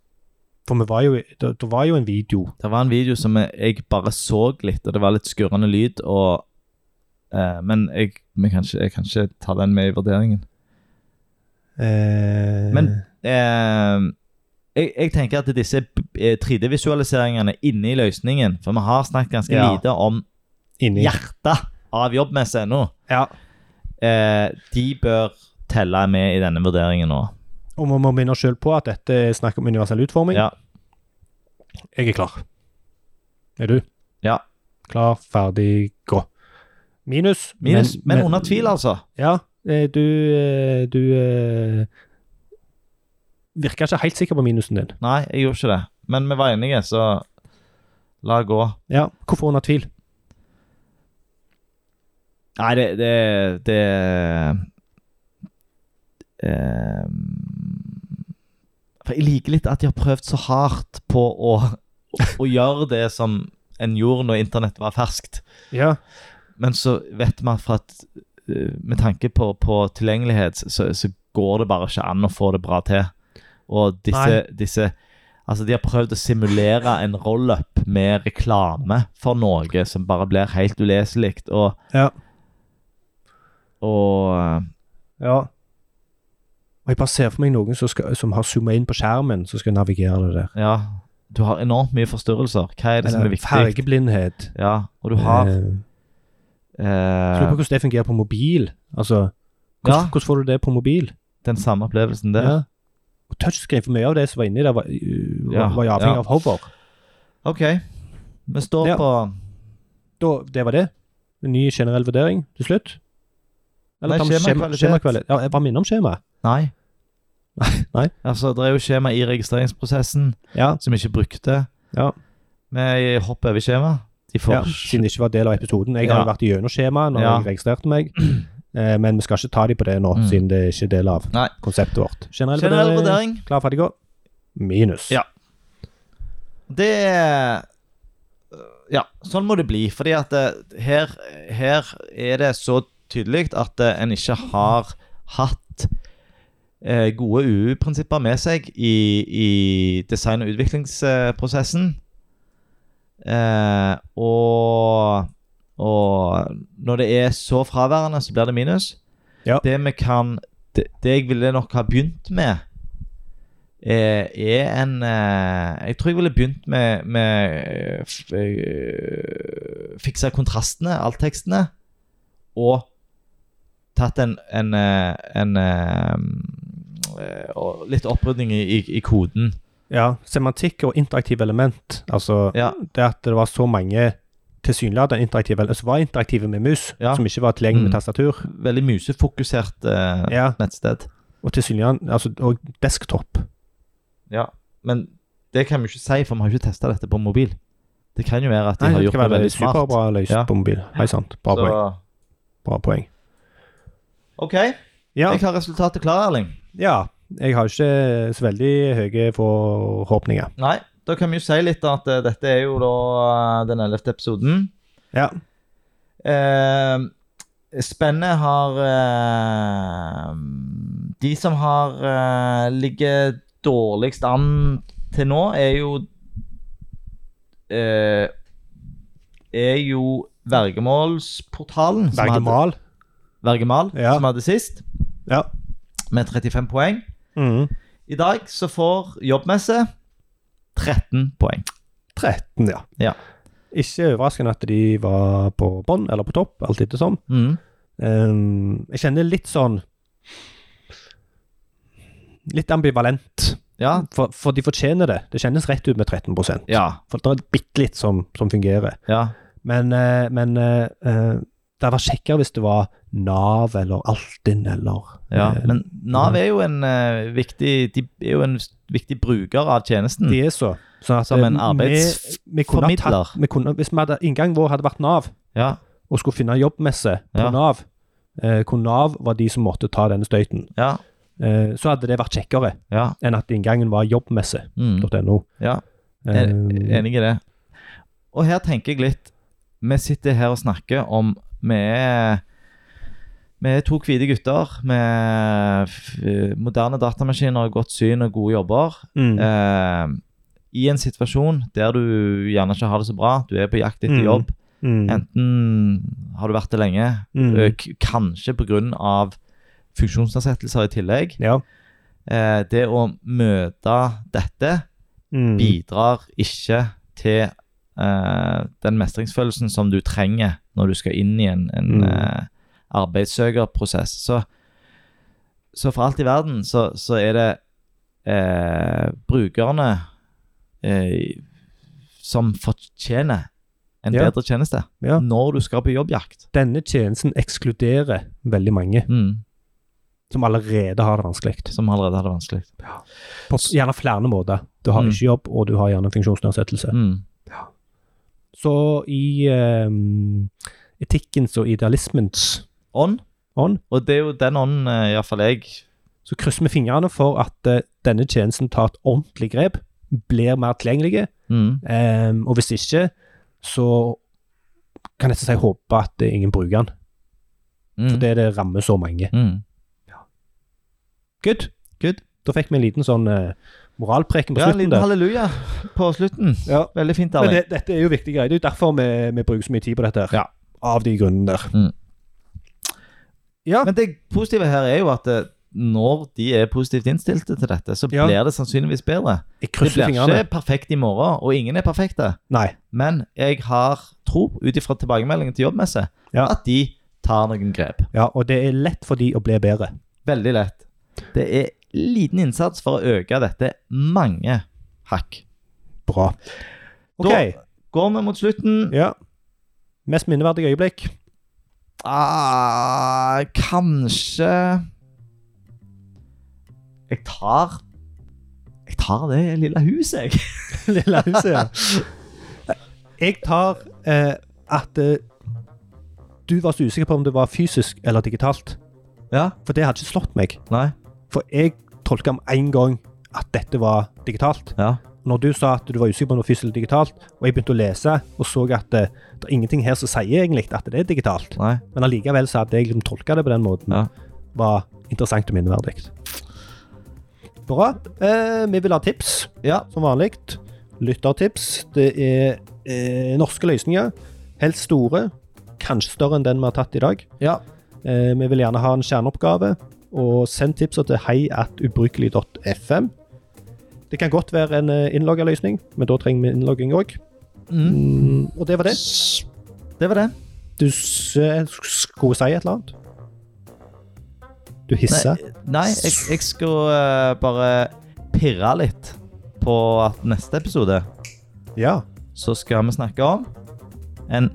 Speaker 1: For vi var jo, i- det, det var jo en video.
Speaker 2: Det var en video som jeg bare så litt, og det var litt skurrende lyd. og... eh, men jeg, men kanskje, jeg kan ikke ta den med i vurderingen.
Speaker 1: Eh,
Speaker 2: Men eh, jeg, jeg tenker at disse eh, 3D-visualiseringene inne i løsningen For vi har snakket ganske
Speaker 1: Ja.
Speaker 2: lite om
Speaker 1: inni
Speaker 2: hjertet av jobbmesse ennå.
Speaker 1: Ja.
Speaker 2: Eh, de bør telle med i denne vurderingen nå.
Speaker 1: Og vi må minne oss sjøl på at dette er snakk om universell utforming.
Speaker 2: Ja.
Speaker 1: Jeg er klar. Er du?
Speaker 2: Ja.
Speaker 1: Klar, ferdig, gå. Minus.
Speaker 2: Minus, men, under tvil, altså.
Speaker 1: Ja, eh, du eh, Du eh, virker ikke helt sikker på minusen din.
Speaker 2: Nei, jeg gjorde ikke det. Men vi var enige, så la gå.
Speaker 1: Ja, Hvorfor under tvil?
Speaker 2: Nei, det Det, det eh, ehm, For jeg liker litt at de har prøvd så hardt på å, å, å gjøre det som en gjorde når internett var ferskt.
Speaker 1: Ja,
Speaker 2: Men så vet vi at for at, eh, med tanke på, på tilgjengelighet, så, så går det bare ikke an å få det bra til. Og disse,
Speaker 1: Nei.
Speaker 2: disse Altså, de har prøvd å simulere en roll-up med reklame for noe som bare blir helt uleselig. Og,
Speaker 1: Ja.
Speaker 2: og eh,
Speaker 1: ja. Og Jeg bare ser for meg noen som, skal, som har zooma inn på skjermen, som skal navigere det der.
Speaker 2: ja Du har enormt mye forstyrrelser. Hva er det som er
Speaker 1: Eller
Speaker 2: viktig?
Speaker 1: Fargeblindhet.
Speaker 2: Ja, og du har
Speaker 1: Eh, jeg Lurer
Speaker 2: eh,
Speaker 1: på hvordan det fungerer på mobil. Altså, hvordan,
Speaker 2: Ja.
Speaker 1: hvordan får du det på mobil?
Speaker 2: Den samme opplevelsen der.
Speaker 1: Ja. Og touchscreen, for mye av det som var inni der, var, uh,
Speaker 2: Ja,
Speaker 1: var jo avhengig
Speaker 2: ja.
Speaker 1: av hover.
Speaker 2: OK. Vi står
Speaker 1: Ja.
Speaker 2: på
Speaker 1: Da, det var det. En ny generell vurdering til slutt.
Speaker 2: Nei,
Speaker 1: kan vi-
Speaker 2: skjemakvalitet.
Speaker 1: skjemakvalitet. Ja, jeg bare minner om skjemaet.
Speaker 2: Nei.
Speaker 1: Nei.
Speaker 2: Altså, det er jo skjema i registreringsprosessen
Speaker 1: Ja,
Speaker 2: som vi ikke brukte.
Speaker 1: Ja.
Speaker 2: Vi hopper over skjema. De får
Speaker 1: ja, siden det ikke var del av episoden. Jeg
Speaker 2: Ja.
Speaker 1: har jo vært igjennom skjemaet når
Speaker 2: Ja.
Speaker 1: jeg registrerte meg, eh, men vi skal ikke ta de på det nå,
Speaker 2: Mm.
Speaker 1: siden det ikke er del av
Speaker 2: Nei.
Speaker 1: konseptet vårt. Generell,
Speaker 2: Generell
Speaker 1: vurdering.
Speaker 2: vurdering.
Speaker 1: Klar, ferdig, gå. Minus.
Speaker 2: Ja. Det Ja, sånn må det bli. Fordi at eh, her, her er det så tydelig at eh, en ikke har hatt eh, gode UU-prinsipper med seg i, i design- og utviklingsprosessen. Eh, og, og når det er så fraværende, så blir det minus.
Speaker 1: Ja.
Speaker 2: Det vi kan det, det jeg ville nok ha begynt med, eh, er en eh, Jeg tror jeg ville begynt med, med eh, f- eh, Fikse kontrastene, alttekstene, og tatt en, en, eh, en eh, og Litt opprydning i, i, i koden.
Speaker 1: Ja, semantikk og interaktive element. Altså
Speaker 2: Ja.
Speaker 1: det at det var så mange tilsynelatende interaktive element som var interaktive med mus,
Speaker 2: Ja.
Speaker 1: som ikke var tilgjengelig
Speaker 2: Mm.
Speaker 1: med tastatur.
Speaker 2: Veldig musefokusert eh,
Speaker 1: Ja,
Speaker 2: nettsted.
Speaker 1: Og tilsynelatende altså, Og desktop.
Speaker 2: Ja. Men det kan vi ikke si, for vi har ikke testa dette på mobil. Det kan jo være at de
Speaker 1: Nei,
Speaker 2: har
Speaker 1: det
Speaker 2: gjort
Speaker 1: kan
Speaker 2: det
Speaker 1: være
Speaker 2: veldig smart.
Speaker 1: superbra løst
Speaker 2: Ja.
Speaker 1: på mobil. Hei sant. Bra poeng.
Speaker 2: Så,
Speaker 1: Bra poeng.
Speaker 2: OK,
Speaker 1: Ja,
Speaker 2: jeg har resultatet klart, Erling.
Speaker 1: ja. Jeg har ikke så veldig høye forhåpninger.
Speaker 2: Nei, da kan vi jo si litt at eh, dette er jo da eh, den 11. episoden.
Speaker 1: Ja.
Speaker 2: Eh, Spennet har eh, De som har eh, ligger dårligst an til nå, er jo eh, Er jo Vergemålsportalen. som hadde-
Speaker 1: Bergemal.
Speaker 2: Vergemal,
Speaker 1: Ja.
Speaker 2: som hadde sist,
Speaker 1: Ja.
Speaker 2: med 35 poeng.
Speaker 1: Mm.
Speaker 2: I dag så får jobbmesse 13 poeng.
Speaker 1: 13, ja.
Speaker 2: Ja.
Speaker 1: Ikke overraskende at de var på bånn, eller på topp, alt etter som.
Speaker 2: Mm.
Speaker 1: Ehm, jeg kjenner litt sånn Litt ambivalent.
Speaker 2: Ja,
Speaker 1: For, for de fortjener det. Det kjennes rett ut med 13 For
Speaker 2: ja,
Speaker 1: det er bitte litt som, som fungerer.
Speaker 2: ja.
Speaker 1: Men, eh, men eh, eh, det var kjekkere hvis det var Nav eller Altinn eller
Speaker 2: Ja,
Speaker 1: eh,
Speaker 2: men Nav er jo en eh, viktig De er jo en s- viktig bruker av tjenesten.
Speaker 1: De er så. Sånn at,
Speaker 2: Som en
Speaker 1: eh, vi, vi kunne ha
Speaker 2: arbeidsformidler.
Speaker 1: tatt, vi kunne, Hvis vi hadde, inngangen vår hadde vært Nav,
Speaker 2: Ja,
Speaker 1: og skulle finne jobbmesse på
Speaker 2: Ja.
Speaker 1: Nav, eh, hvor Nav var de som måtte ta denne støyten,
Speaker 2: ja,
Speaker 1: eh, så hadde det vært kjekkere.
Speaker 2: ja.
Speaker 1: enn at inngangen var jobbmesse.no.
Speaker 2: Mm, ja.
Speaker 1: Eh,
Speaker 2: Er- Enig i det. Og her tenker jeg litt Vi sitter her og snakker om Vi er, vi er to hvite gutter med f- eh, moderne datamaskiner, godt syn og gode jobber.
Speaker 1: mm,
Speaker 2: Eh, I en situasjon der du gjerne ikke har det så bra, du er på jakt etter
Speaker 1: Mm.
Speaker 2: jobb.
Speaker 1: mm,
Speaker 2: Enten har du vært det lenge,
Speaker 1: mm.
Speaker 2: Eh, k- Kanskje pga. funksjonsnedsettelser i tillegg.
Speaker 1: Ja.
Speaker 2: Eh, det å møte dette
Speaker 1: Mm,
Speaker 2: bidrar ikke til eh, den mestringsfølelsen som du trenger når du skal inn i en, en
Speaker 1: Mm.
Speaker 2: eh, arbeidssøkerprosess. Så, så for alt i verden så, så er det eh, brukerne eh, som fortjener en
Speaker 1: Ja.
Speaker 2: bedre tjeneste
Speaker 1: Ja.
Speaker 2: når du skal på jobbjakt.
Speaker 1: Denne tjenesten ekskluderer veldig mange
Speaker 2: Mm.
Speaker 1: som allerede har det vanskelig.
Speaker 2: Som allerede hadde vanskelig.
Speaker 1: På s- gjerne flere måter. Du har
Speaker 2: Mm.
Speaker 1: ikke jobb, og du har gjerne en funksjonsnedsettelse.
Speaker 2: Mm.
Speaker 1: Så i eh, etikkens og idealismens
Speaker 2: Ånd.
Speaker 1: ånd
Speaker 2: Og det er jo den ånden eh, i hvert fall jeg
Speaker 1: så krysser vi fingrene for at eh, denne tjenesten tar et ordentlig grep, blir mer tilgjengelige,
Speaker 2: mm.
Speaker 1: eh, og hvis ikke, så kan jeg nesten si håpe at eh, ingen bruker den.
Speaker 2: Mm.
Speaker 1: For det, det rammer så mange.
Speaker 2: Mm.
Speaker 1: Good.
Speaker 2: Good.
Speaker 1: Da fikk vi en liten sånn eh, moralpreken på
Speaker 2: Ja, en
Speaker 1: slutten
Speaker 2: liten
Speaker 1: der.
Speaker 2: halleluja på slutten.
Speaker 1: Ja.
Speaker 2: Veldig fint,
Speaker 1: Men
Speaker 2: Erling.
Speaker 1: det, dette er jo viktige greier. Det er jo derfor vi, vi bruker så mye tid på dette. her.
Speaker 2: Ja.
Speaker 1: Av de grunnene der. ja.
Speaker 2: Men det positive her er jo at eh, når de er positivt innstilte til dette, så
Speaker 1: Ja.
Speaker 2: blir det sannsynligvis bedre.
Speaker 1: Jeg
Speaker 2: Det
Speaker 1: krysser
Speaker 2: blir
Speaker 1: fingrene.
Speaker 2: ikke perfekt i morgen, og ingen er perfekte.
Speaker 1: Nei.
Speaker 2: Men jeg har tro, ut ifra tilbakemeldingen til jobbmesse,
Speaker 1: Ja.
Speaker 2: at de tar noen grep.
Speaker 1: Ja, og det er lett for de å bli bedre.
Speaker 2: Veldig lett. Det er liten innsats for å øke dette mange hakk.
Speaker 1: Bra. OK.
Speaker 2: Da går vi mot slutten.
Speaker 1: Ja. Mest minneverdige øyeblikk?
Speaker 2: Ah, kanskje Jeg tar Jeg tar det lille huset, jeg.
Speaker 1: Lille huset, ja. Jeg tar eh, at eh, du var så usikker på om det var fysisk eller digitalt.
Speaker 2: Ja,
Speaker 1: For det hadde ikke slått meg.
Speaker 2: nei,
Speaker 1: For jeg tolka med en gang at dette var digitalt.
Speaker 2: ja.
Speaker 1: Når du sa at du var usikker på om det var fysisk eller digitalt, og jeg begynte å lese og så at eh, det er ingenting her som sier egentlig at det er digitalt,
Speaker 2: Nei.
Speaker 1: men allikevel så hadde jeg liksom tolka det på den måten,
Speaker 2: Ja.
Speaker 1: var interessant og minneverdig. Bra. Eh, vi vil ha tips.
Speaker 2: Ja,
Speaker 1: som vanlig. Lyttertips. Det er eh, norske løsninger. Helst store. Kanskje større enn den vi har tatt i dag.
Speaker 2: ja.
Speaker 1: Eh, vi vil gjerne ha en kjerneoppgave. Og send tipser til heiatubrukelig.fm. Det kan godt være en eh, innlogga løsning, men da trenger vi innlogging òg.
Speaker 2: Mm.
Speaker 1: Mm, og det var det.
Speaker 2: Det var det.
Speaker 1: Du s eh, skulle si et eller annet? Du hissa?
Speaker 2: Nei, jeg, jeg skulle eh, bare pirre litt på at neste episode
Speaker 1: Ja.
Speaker 2: så skal vi snakke om en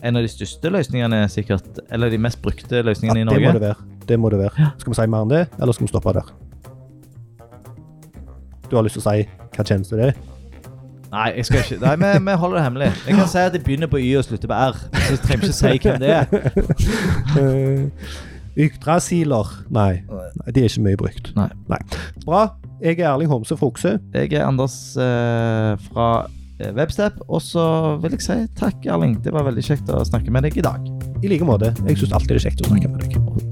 Speaker 2: en av de største løsningene sikkert, eller de mest brukte
Speaker 1: ja.
Speaker 2: løsningene i
Speaker 1: Det
Speaker 2: Norge.
Speaker 1: må det være. Det må det være. Skal vi si mer enn det, eller skal vi stoppe der? Du har lyst til å si hva tjeneste det er?
Speaker 2: Nei, jeg skal ikke. Nei, vi, vi holder det hemmelig. Jeg kan si at det begynner på Y og slutter på R. Så trenger jeg ikke si hvem det er.
Speaker 1: Eh, Yggdrasiler. Nei, nei, de er ikke mye brukt.
Speaker 2: Nei.
Speaker 1: Bra. Jeg er Erling Homse Frokse.
Speaker 2: Jeg er Anders eh, fra eh, Webstep, og så vil jeg si takk, Erling. Det var veldig kjekt å snakke med deg i dag.
Speaker 1: I like måte. Jeg syns alltid det er kjekt å snakke med deg.